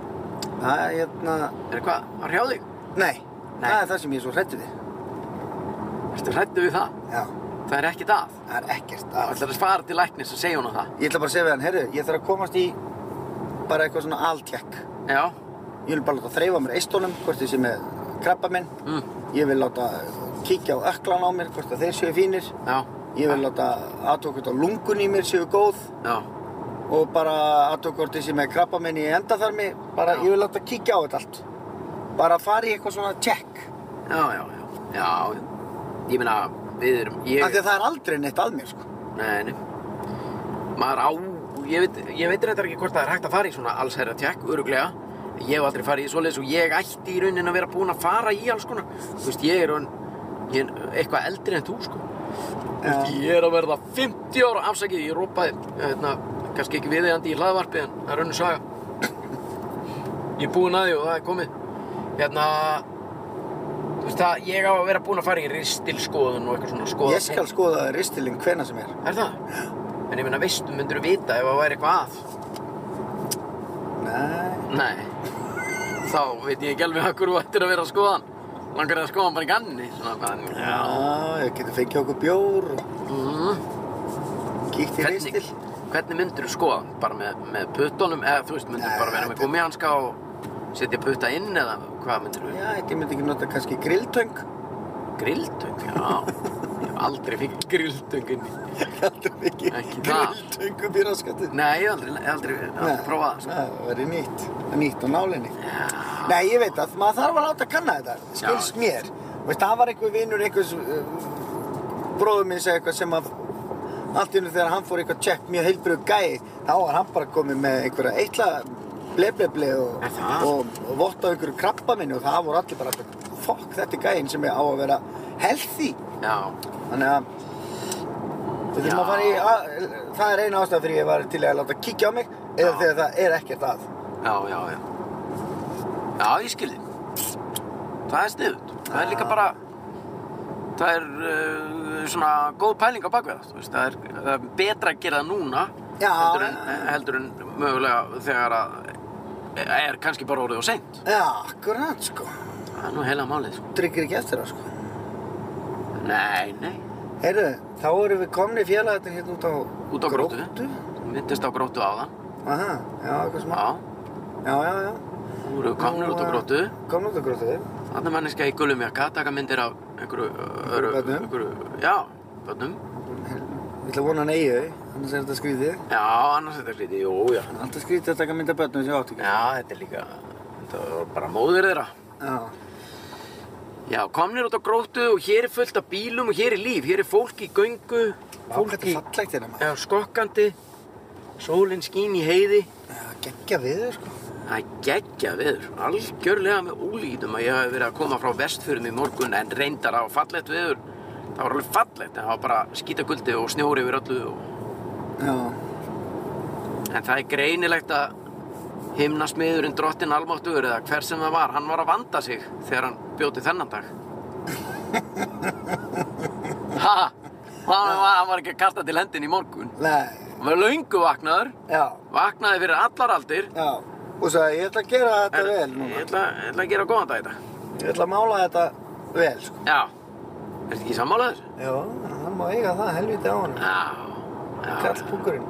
Það er hérna,
er hvað? Að hrjá þig?
nei,
Nei.
það er það sem ég er svo hrættu við.
Ertu hrættu við það?
Já,
Það er ekkert að.
það er ekkert
Það
að.
ætlar að fara til læknis og segja hún það.
Ég ætla bara að segja við hann, herru, ég þarf að komast í bara eitthvað svona alltjekk.
Já,
Ég vil bara láta þreifa á mér eistónum, hvort ég sé með krabba minn.
Mm.
Ég vil láta kíkja á öklan á mér, hvort að þeir séu fínir.
Já,
Ég vil láta aðtók hvort að lungun í mér séu góð
já,
og bara aðtók hvort ég sé með krabba minn í endaþarmi. Bara,
Já.
ég vil láta kíkja á þetta allt. Bara fara í eitthvað svona check.
já, já, já, já, ég meina, við erum, ég...
Af því að það er aldrei neitt að mér, sko.
Nei, nei. Maður á, ég veit, ég veit reyndar ekki hvort það er hægt að fara í svona allsherra tjekk, öruglega. Ég hef aldrei farið í svoleiðis og ég ætti í raunin að vera búinn að fara í alls konar. Þú veist, ég er raun, ég er eitthvað eldri en þú, sko. Þú veist, ég er að verða 50 ára afsakið, ég rópaði, hérna, kannski ekki viðeigandi í hlaðvarpi, en það er rauninu saga. Ég er búinn að því og það er komið. Hérna, þú veist það, ég á að vera búinn að fara í ristilskoðun og eitthvað svona skoða.
Ég skal skoða ristilinn hvena sem er.
Er það? En ég meina, veistu, myndur þú vita ef það væri eitthvað að?
Nei.
Nei. Þá veit ég ekki alveg hvað þú ættir að vera að skoða hann. Langar þig að skoða hann bara í ganni, svona hvað.
Já, ég geti fengið okkur bjór og
Mm.
kíkt í
Hvernig,
ristil.
hvernig myndur þú skoða hann? Bara með, með puttunum, eða þú veist, myndur
Nei,
þú bara vera með
þetta-
gummihanska og setja putta inn eða hvað myndur þú?
Já, ég myndi ekki nota kannski grilltöng.
Grilltöng, já. Ég hef aldrei fengið grilltönginn.
Heldur ekki,
Ekki það.
grilltöngum í raskatið.
Nei, ég hef aldrei, ég hef aldrei, aldrei prófað það, sko.
Það verður nýtt, nýtt á nálinni.
Já.
Nei, ég veit að maður þarf að láta kanna þetta, skilst
Já.
mér. Veist, það var einhver vinnur, einhvers uh, bróður minn segja eitthvað sem að allt í hennu þegar hann fór eitthvað check mjög heilbrug gæi, þá var hann bara komið með einhverja eitla blebleble og,
Er það?
og, og votta einhverju krabba minni og það voru allir bara eitthvað, fokk, þetta er gæin sem er á að vera healthy.
Já.
Þannig að við þurfum að
Já.
fara í, að, það er eina ástæð fyrir ég var til að láta kíkja á mig eða
Já.
þegar það er ekkert að.
Já, já, já. Já, ég skilði. Það er sniðut. Það er líka bara, það er uh, svona góð pæling á bakveða. Veist, það, er, það er betra að gera það núna
Já,
heldur, en,
en-
heldur en mögulega þegar að er kannski bara orðið og seint.
Já, akkurat sko.
Það er nú heila málið, sko.
Tryggir ekki eftir það sko.
Nei, nei.
Heyrðu, þá erum við komni félagatinn hérna út á...
Út á Gróttu. Myndist á gróttu áðan.
Aha, já, eitthvað smá.
Já,
Já, já, já.
þú eru komnir
eh.
út á gróttu.
Komni út á gróttu.
Þannig manneska í gulum jakka, taka myndir af einhverju... öðru-
börnum.
einhverju- Já, bönnum.
Ég ætla að vona hann eigi þau, annars er þetta skrítið.
Já, annars er þetta lítið, jú, já.
Það er Alltaf skrítið að taka mynda börnum sem ég átti ekki.
Já, þetta er líka, þetta var bara móður þeirra.
Já.
Já, komnir út á gróttu og hér er fullt af bílum og hér er líf, hér er fólk í göngu,
Fólk
fólk
er
í
fallegt hérna maður.
já, skokkandi, sólinn skín í heiði.
Já, geggja við þau sko.
Það er geggja veður, algjörlega með ólítum að ég hafi verið að koma frá vestfjörðum í morgun en reyndar á fallegt veður. Það var alveg fallegt en það var bara skítaguldi og snjóri yfir öllu. Og...
Já.
En það er greinilegt að himnasmiðurinn drottin almáttugur eða hver sem það var, hann var að vanda sig þegar hann bjóti þennan dag. ha, hann var, hann var ekki að kasta til hendin í morgun.
Nei,
Hann var löngu vaknaður,
já,
vaknaði fyrir allar aldir.
já. Og sagði, ég ætla að gera þetta
En-
vel núna.
Ég ætla, ég ætla að gera góðan dag í dag.
Ég ætla að mála þetta vel, sko.
Já, ertu ekki sammálaður?
Já, hann má eiga það helviti á hann.
Já, já.
Kallpúkurinn.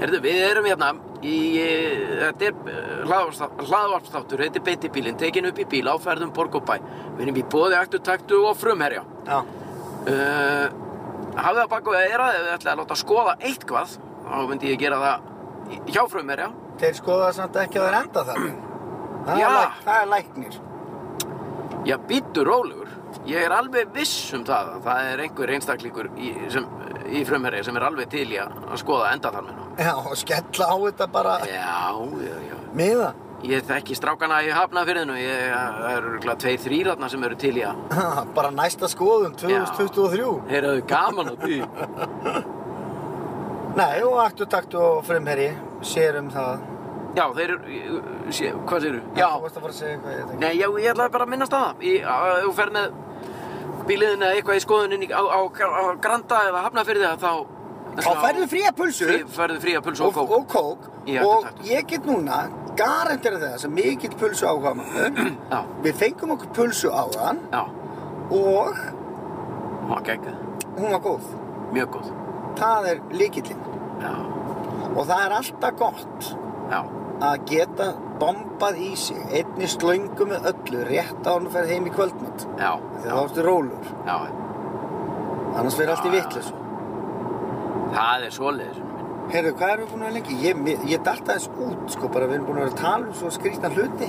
Herðu, við erum hérna í, eh, þetta er eh, hlaðvarpstá- hlaðvarpstáttur, heitir Beitti bílinn, tekin upp í bíl, áferðum borg og bæ. Við erum í bóði, aktu, taktu og frumherja.
Já.
Uh, hafið það baku að eira, ef þið ætlaði að láta skoða eitthvað, þá myndi ég gera það í- hjá frumherja.
Þeir skoða samt ekki að það er enda þannig. Það
Já.
Er læk, það er læknir.
Já, býttu rólegur. Ég er alveg viss um það að það er einhver einstaklingur í, sem, í frumherja sem er alveg til í að að skoða enda þar með nú.
Já, og skella á þetta bara
Já, já, já.
miða.
Ég þekki strákana í Hafnafyrðinu, ég, það eru örugglega tveir þrýratna sem eru til í að
bara næsta skoðum 2023.
heyraðu gaman á því.
Nei, og aktu taktu og frumherji sér um það.
Já, þeir eru, sé, hvað séru? Já,
Þú varst að fara að segja eitthvað ég tengi.
nei, já, ég ætlaði bara að minnast á það. Í- að- að Þú fer með bíliðin eða eitthvað í skoðuninni á, á, á Granda eða Hafnafyrði þá...
Þá færðu fría pulsu
Frí- Færðu fría puls og
og,
kók.
og kók
Í Aktu
og
taktu.
ég get núna garantera það sem mikill pulsu áhuga maður.
Já,
Við fengum okkur pulsu á þann
já,
og
hún var geggjað.
hún var góð.
Mjög góð.
Það er líkillinn.
Já,
Og það er alltaf gott
já,
að geta bombað í sig, einni slöngu með öllu, rétt á hann að ferð heim í kvöldmatt.
Já,
Þegar þá ertu rólur,
já,
annars verður allt í
Já.
vitlis.
það er svoleiðis. vinur minn.
Heyrðu, hvað erum við búin að vera lengi? Ég, mér- ég datt aðeins út, sko, bara við erum búin að vera að tala um svo skrýtna hluti.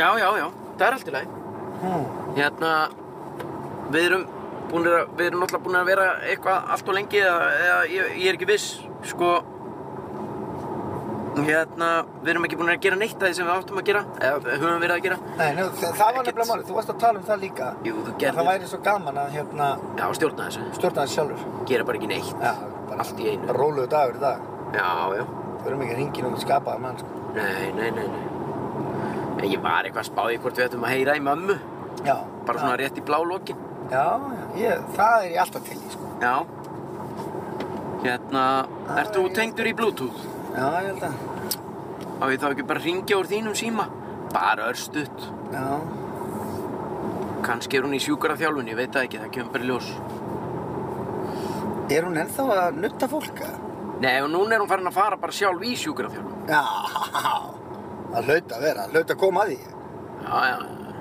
Já, já, já, það er allt í lagi.
Hmm.
Hérna, við erum búin að, við erum náttúrulega búin að vera eitthvað allt og lengi eða, eða ég, ég er ekki viss, sko. Hérna, við erum ekki búin að gera neitt af því sem við áttum að gera, eða höfum verið að gera.
Nei, njá, það, það var
Ekkert.
nefnilega málið, þú varst að tala um það líka.
Jú, þú
Gerði. Það
gerðir,
væri svo gaman að hérna
já, stjórna þessu,
stjórna þessi sjálfur.
gera bara ekki neitt.
Já, bara
Allt í einu.
Bara róluðu dagur í dag.
Já, já,
Við erum ekki að ringi um skapaða mann, sko.
nei, nei, nei, nei. En ég var eitthvað að spá í hvort við ættum að heyra í mömmu,
Já.
bara svona rétt í blá lokin.
Já, já, ég, það er ég alltaf til í, sko.
Já. Hérna, ert þú tengdur í Bluetooth?
Já, ég held að.
Á ég þá ekki bara að ringja úr þínum síma? Bara örstutt.
Já.
Kannski er hún í sjúkara þjálfun, ég veit það ekki, það kemur bara í ljós.
Er hún ennþá að nutta fólk, eða?
Nei, og núna er hún farin að fara bara sjálf í sjúkara þjálfun.
Já, það hlaut að vera, það hlaut að koma að því.
Já, já, já.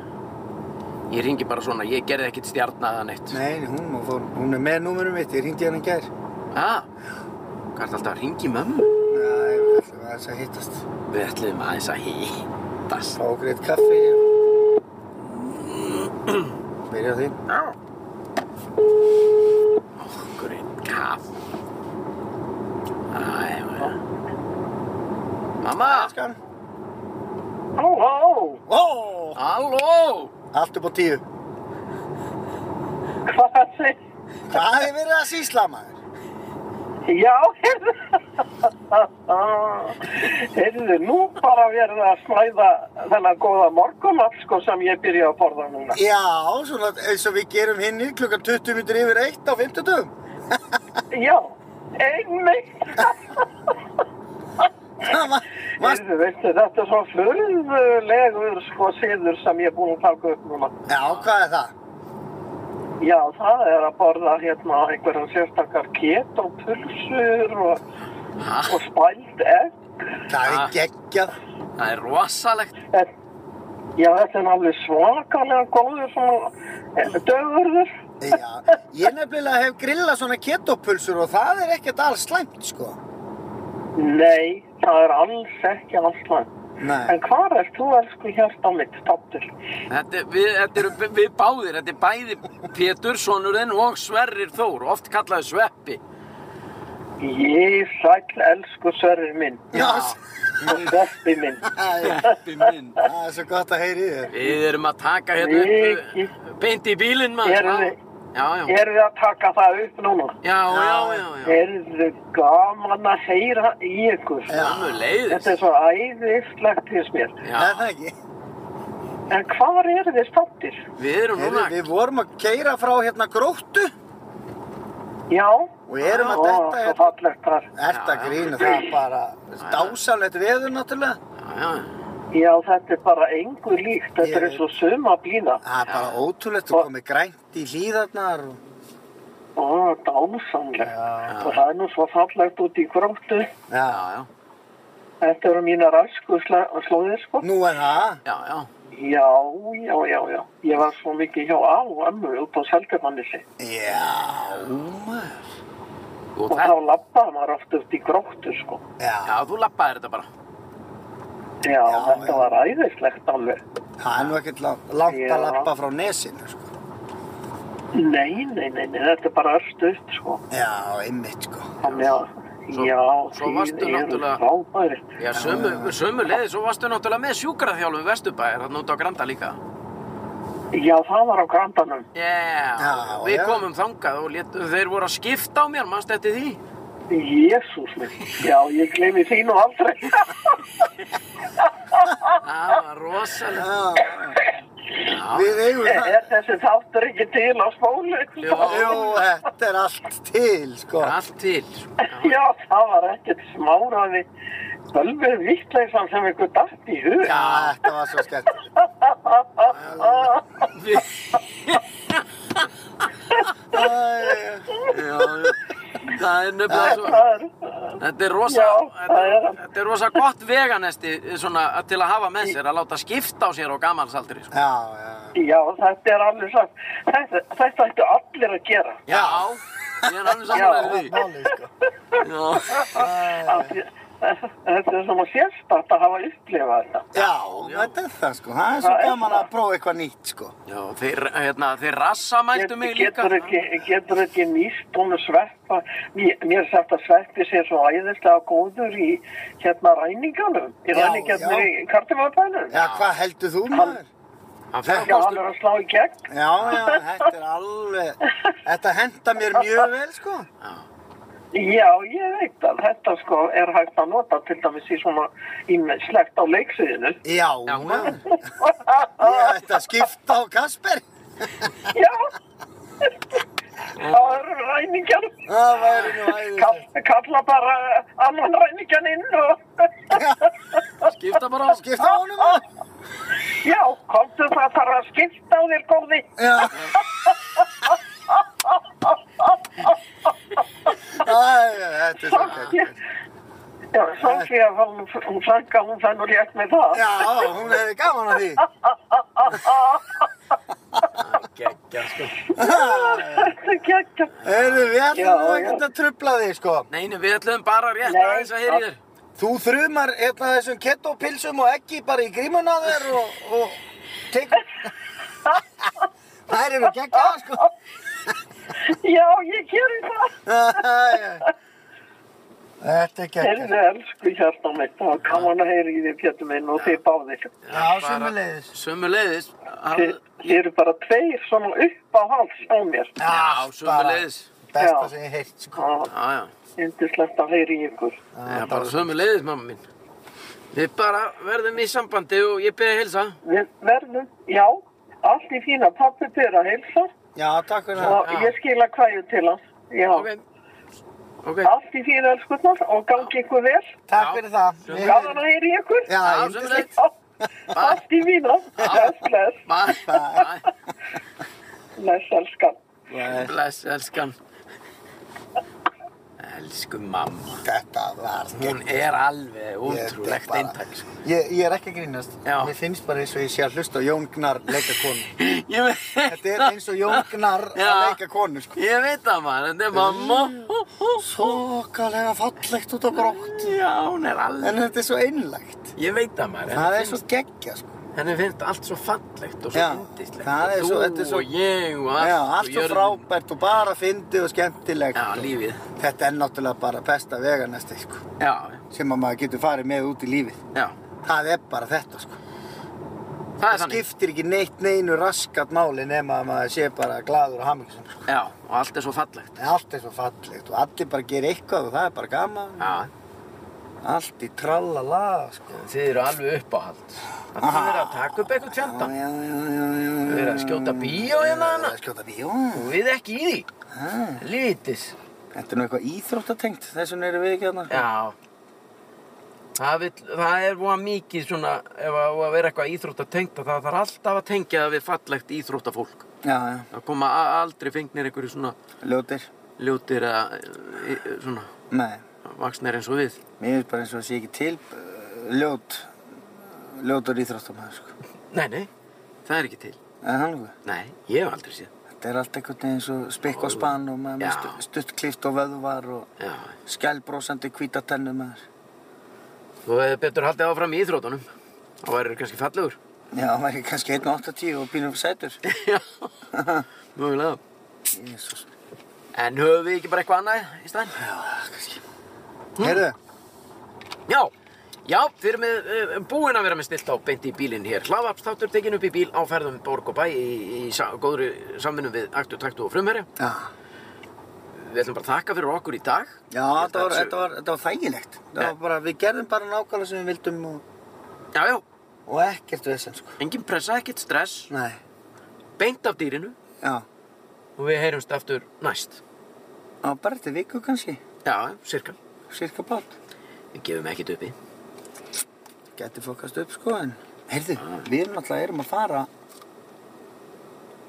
Ég ringi bara svona, ég gerði ekkert stjarnaða neitt.
Nei, nei, hún, hún, fór- hún er með númurum mitt, ég ringdi hann í gær.
Ah, hvað ertu alltaf að ringi mömmu?
Nei, við ætlum aðeins að hittast.
Við ætlum aðeins að hittast.
Fá okkur eitt kaffi. Byrja á því.
Já. Okkur einn kaff. Æ, já. Mamma!
Skan.
Halló, halló,
Ó,
Halló!
allt upp á tíu.
hvað er þið?
Hvað hefur verið að sýsla maður?
Já, heyrðu, nú bara verið að snæða þennan góða morgunat sko sem ég byrja að borða núna.
Já, svona eins og við gerum hinni klukkan 20 minnir yfir eitt á 50
Já, einmitt.
dögum.
Heyrðu, veistu, þetta er svo furðulegur sko siður sem ég er búin að taka upp núna.
Já, hvað er það?
Já, það er að borða hérna einhverjum sérstakar kétt og pulsur og,
Ha,
og spælt egg.
Það
Ah.
er geggjað.
það er rosalegt.
En, já, þetta er alveg svakalega góður svona eh, dögurður.
Já, ég nefnilega hef grillað svona ketopulsur og það er ekkert alls slæmt, sko.
Nei, það er alls ekki alls langt.
Nei,
En hvar er þú, elsku hjarta mitt, stattur?
Þetta, er- við, þetta eru b- við báðir, þetta er bæði Pétur, sonurinn og Sverrir Þór, oft kallaði Sveppi.
Ég sæll, elsku sörur minn
Já.
og
Mm.
sveppi minn.
það
Sveppi minn.
er svo gott að heyri þér.
Við erum að taka hérna upp,
Mikið.
uh, beint í bílinn maður.
Erum við-
Já, já.
Erum við að taka það upp núna?
Já, já, já, já.
Er þið gaman að heyra í ykkur?
Já.
Ömmu leiðis.
Þetta er svo æðislegt hins mér.
Já.
Já,
Er það ekki?
En hvar eru þið stattir?
við erum
Heyrðu,
núna.
við vorum að keira frá hérna gróttu
Já.
og erum að
Ó,
detta
Svo
hérna.
fallegt þar.
Ert að
Já.
grína, það er bara dásalegt veður náttúrulega.
Já, já.
Já, þetta er bara engu líkt. Þetta er
Ég-
eins og suma blíða.
Það er bara ótrúlegt
Og-
að komið grænt í hlíðarnar. og-
Ó, dásamlegt.
Já,
Og það er nú svo fallegt út í gróttu.
já.
Já, já.
Þetta eru mínar æsku slá- slóðir, sko.
Nú er það.
Já, já.
Já, já, já, já. Ég var svo mikið hjá á og ömmu út á Seldermannissi.
Já, maður.
Og
Og
það,
þá labbaði maður oft út í gróttu, sko.
já,
Já,
þú lappaðir þetta bara.
Já,
Já,
þetta
já.
var æðislegt alveg.
það er nú ekkert langt, langt
Já.
að lappa frá nesinu, sko.
Nei, nei, nei, nei, þetta er bara örst upp, sko.
Já, einmitt, sko.
Þannig að,
Svo-
já,
svo varstu
þið eru
náttúrulega-
frábæri.
Já, sömu, sömu leiðis. Svo varstu náttúrulega með sjúkraþjálfum Vesturbæðir, þarna út á Granda líka.
Já, það var á grandanum.
Já,
Já,
við
já.
komum þangað og lét, þeir voru að skipta á mér, mannst eftir því?
Jésús minn. Já, ég gleymi þínu aldrei.
Það var rosalega.
Já,
Já,
við eigum það.
er þessi þáttur ekki til á spólu?
Jú.
Jú, þetta er allt til, sko.
allt til. sko. Já,
Já, það var ekkert smáraði bölvið vittleysam sem ykkur dætt í hug.
Já, þetta var svo skemmt.
við-
Æ,
já, já. Það er nefnilega svo.
Það er,
Þetta er rosa,
Já,
þetta,
það er það.
þetta er rosa gott veganesti eh, svona, til að hafa með sér, að láta skipta á sér á gamalsaldri. Sko.
Já, já.
Já, þetta er alveg satt. Þetta, þetta ættu allir að gera.
Já, ég er alveg
Það
samanlega
er
því.
málið, sko.
Já,
Af því- Þetta er svona sérstætt að hafa upplifað þetta.
Já, þetta er það, sko. Það er svo
Það er
gaman
það.
að prófa eitthvað nýtt, sko.
já þeir, hérna, þeir rassamæltu mig líka.
Getur ekki, getur ekki nýst hún sveppa, mér, mér sagt að sveppi sé svo æðislega góður í hérna ræninganum, í
Já,
ræningarnir
já.
í kartumarbænum.
Já, hvað heldur þú, maður?
Hann fer á
Já, hann
kostum.
er að slá í gegn.
Já, já, þetta er alveg... Þetta henda mér mjög vel, sko.
Já, ég veit að þetta sko er hægt að nota til dæmis í svona ímennslegt á leiksviðinu.
Já,
Já,
maður. Ég ætti að skipta á Kasper.
Já, það eru ræningar.
Það væri nú æðislegt.
Kall, kalla bara annan ræningan inn og
Skipta bara á.
Skipta á honum, maður.
já, komdu það þarf að skipta á þér góði.
Já. Æ, þetta er svo gætt.
Já, Sofía, hún, hún frænka, hún fann nú rétt með það.
Já, hún hefði gaman að því.
Gekkja, sko.
Þetta er geggja.
Heyrðu, við
Já,
ætlum nú
já.
ekkert að trubla þig, sko.
Nei, nei, við ætlum bara rétt
Nei.
aðeins að heyri þér.
Þú þrumar hérna þessum kettopilsum og ekki bara í grímuna á þér og, og tekur... Þær eru geggjaða, sko.
Já, ég gerir það.
Æ, Þetta er geggjað.
Herðu, elsku hjarta mitt, það var gaman að heyra í þér, Pétur minn, og þið báðir.
Já, sömuleiðis.
Sömuleiðis.
Þið, þið eru bara tveir svona upp á hals á mér.
Já, bara
sömuleiðis.
Besta
Já.
sem ég heilt, sko.
Já,
Það
já.
er Ah, yndislegt að heyra í ykkur.
Já, bara sömu leiðis, mamma mín. Við bara verðum í sambandi og ég beði að hilsa.
Við verðum, já, allt í fína. Pappi byrja að heilsa
Já, takk fyrir það.
og ég skila kvæðu til hans. Já,
Ok. Ok.
allt í fína, elskurnar, og gangi ykkur vel.
Takk
Já.
fyrir það. Við-
Gaman að heyra í ykkur.
Eh. Já,
Já,
ég
sömuleiðis.
Já, Allt í mínu. Bless, bless.
Bye. Bye.
Bless, elskan.
Bless, elskan. Elsku mamma.
Þetta var gegn.
Hún er alveg
Ég-
ótrúlegt
bara-
eintak. sko.
Ég, ég er ekki að grínast.
Já.
Mér finnst bara eins og ég sé að hlusta á Jón Gnar leika konu.
Ég veit
Þetta er eins og Jón Gnar að
Já.
leika konu, sko.
Ég veit það maður, þetta er mamma.
Svokalega fallegt út á grótt.
Já, hún er
En
alveg.
þetta er svo einlægt.
Ég veit það maður.
Það er svo geggja, sko.
Henni finnst allt svo fallegt og svo
Já,
indislegt.
það er svo- þetta
Þú
er svo-
og ég og allt.
Já, allt svo
og jörðin.
frábært og bara fyndið og skemmtilegt.
Já,
og-
lífið.
Þetta er náttúrulega bara besta veganesti, sko.
Já,
Sem að maður getur farið með út í lífið.
já.
Það er bara þetta, sko.
Það er
Það
þannig.
skiptir ekki neitt neinu raskat máli nema að maður sé bara gladur og hamingisum.
Já, og allt er svo fallegt.
Allt er svo fallegt og allir bara gerir eitthvað og það er bara gaman.
Já,
Allt í trallala, sko.
þið eru alveg upp á hald. Það er að taka upp eitthvað tjönda.
Já, já, já, já.
Þið eru að skjóta bíó
Það
hérna
er
hana.
að skjóta bíó.
Og við ekki í því.
Ah,
Lítis.
Þetta er nú eitthvað íþróttatengt, þess vegna erum við ekki hérna.
Já. Það, vill, það er voða mikið svona, ef að, á að vera eitthvað íþróttatengt að það þarf alltaf að tengja það við fallegt íþróttafólk.
Já, já,
Það koma a- aldrei fengnir einhverju svona
ljótir.
ljótir eða e, e, svona
Nei,
vaksnir eins og við.
mér finnst bara eins og það sé ekki til uh, ljót, ljótur íþróttamæður, sko.
Nei, nei, það er ekki til.
En hann líka.
Nei, ég hef aldrei séð.
Þetta er allt einhvern veginn eins og spikk og spann og maður með
Já.
stu- stuttklift og vöðvar og
Já,
skælbrósandi hvítatennum maður.
þú hefur betur haldið áfram í íþróttunum. Þá væri kannski fallegur.
Já, það væri kannski 1.80 og pínum sætur.
Já, mögulega.
Jésús.
En höfum við ekki bara eitthvað annað í staðinn?
Já, kannski. Heyrðu,
Já, já, við erum með, uh, búin að vera með stilt á beint í bílinn hér. Hlaðvarpstáttur tekin upp í bíl á ferðum Borg og Bæ í, í sa góðri samvinnu við Aktu, Taktu og Frumherja.
já,
Við ætlum bara að þakka fyrir okkur í dag.
já
Ég held
þetta, var,
að-
þetta, var, þetta var þægilegt. Það
Nei.
var bara, við gerðum bara nákvæmlega sem við vildum og,
Já, já,
og ekkert vesen, sko.
engin pressa, ekkert stress,
Nei,
beint af dýrinu
já,
og við heyrumst aftur næst.
á bara eftir viku kannski,
Já, cirka.
cirka bát.
Við gefum ekkert uppi.
Gæti fokast upp, sko, en heyrðu,
Ah.
við náttúrulega erum að fara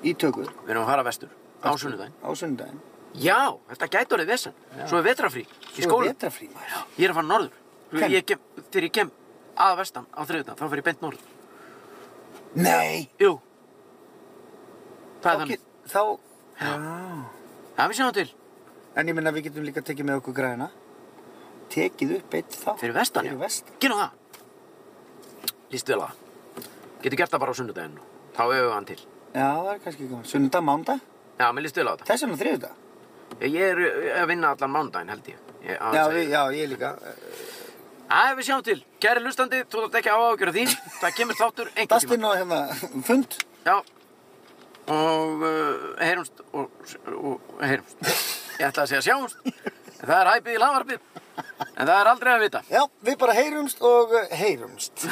í tökur
Við erum að fara vestur á sunnudaginn.
á sundaginn.
Já, þetta gætur eða vesen. Svo er vetrafrí í
Svo er
skóla.
vetrafrí maður.
Ég er að fara norður. Svo
Hvenær?
Ég kem, þegar ég kem að vestan á þriðutan, þá fer ég beint norður.
Nei.
Jú. Það er
Þá,
þannig.
get, þá,
Það við sjáum til.
en ég minna við getum líka tekið með okkur græna. Tekið upp eitt þá.
Fyrir vestan,
Fyrir vestan.
Gerum það. Lýst vel á það. Getur gert það bara á sunnudaginn. nú. Þá öfum við hann til.
Já, það er kannski gaman. Sunnudag, mándag.
Já, mér lýst vel á þetta.
Þess vegna þriðudag.
Ég er uh, að vinna allan mánudaginn, held ég. ég á
Já,
Ah, þess að-
við, já, ég líka.
Æ, við sjáum til. Kæri hlustandi, þú þátt ekki að áhugjur af því. Það kemur þáttur einhvern tímann.
Dastinn og hérna, fund.
Já Og uh, heyrumst og, og heyrumst Ég ætla að segja sjáumst En það er hæpið í lavarpið En það er aldrei að vita
Já, við bara heyrumst og eh, heyrumst.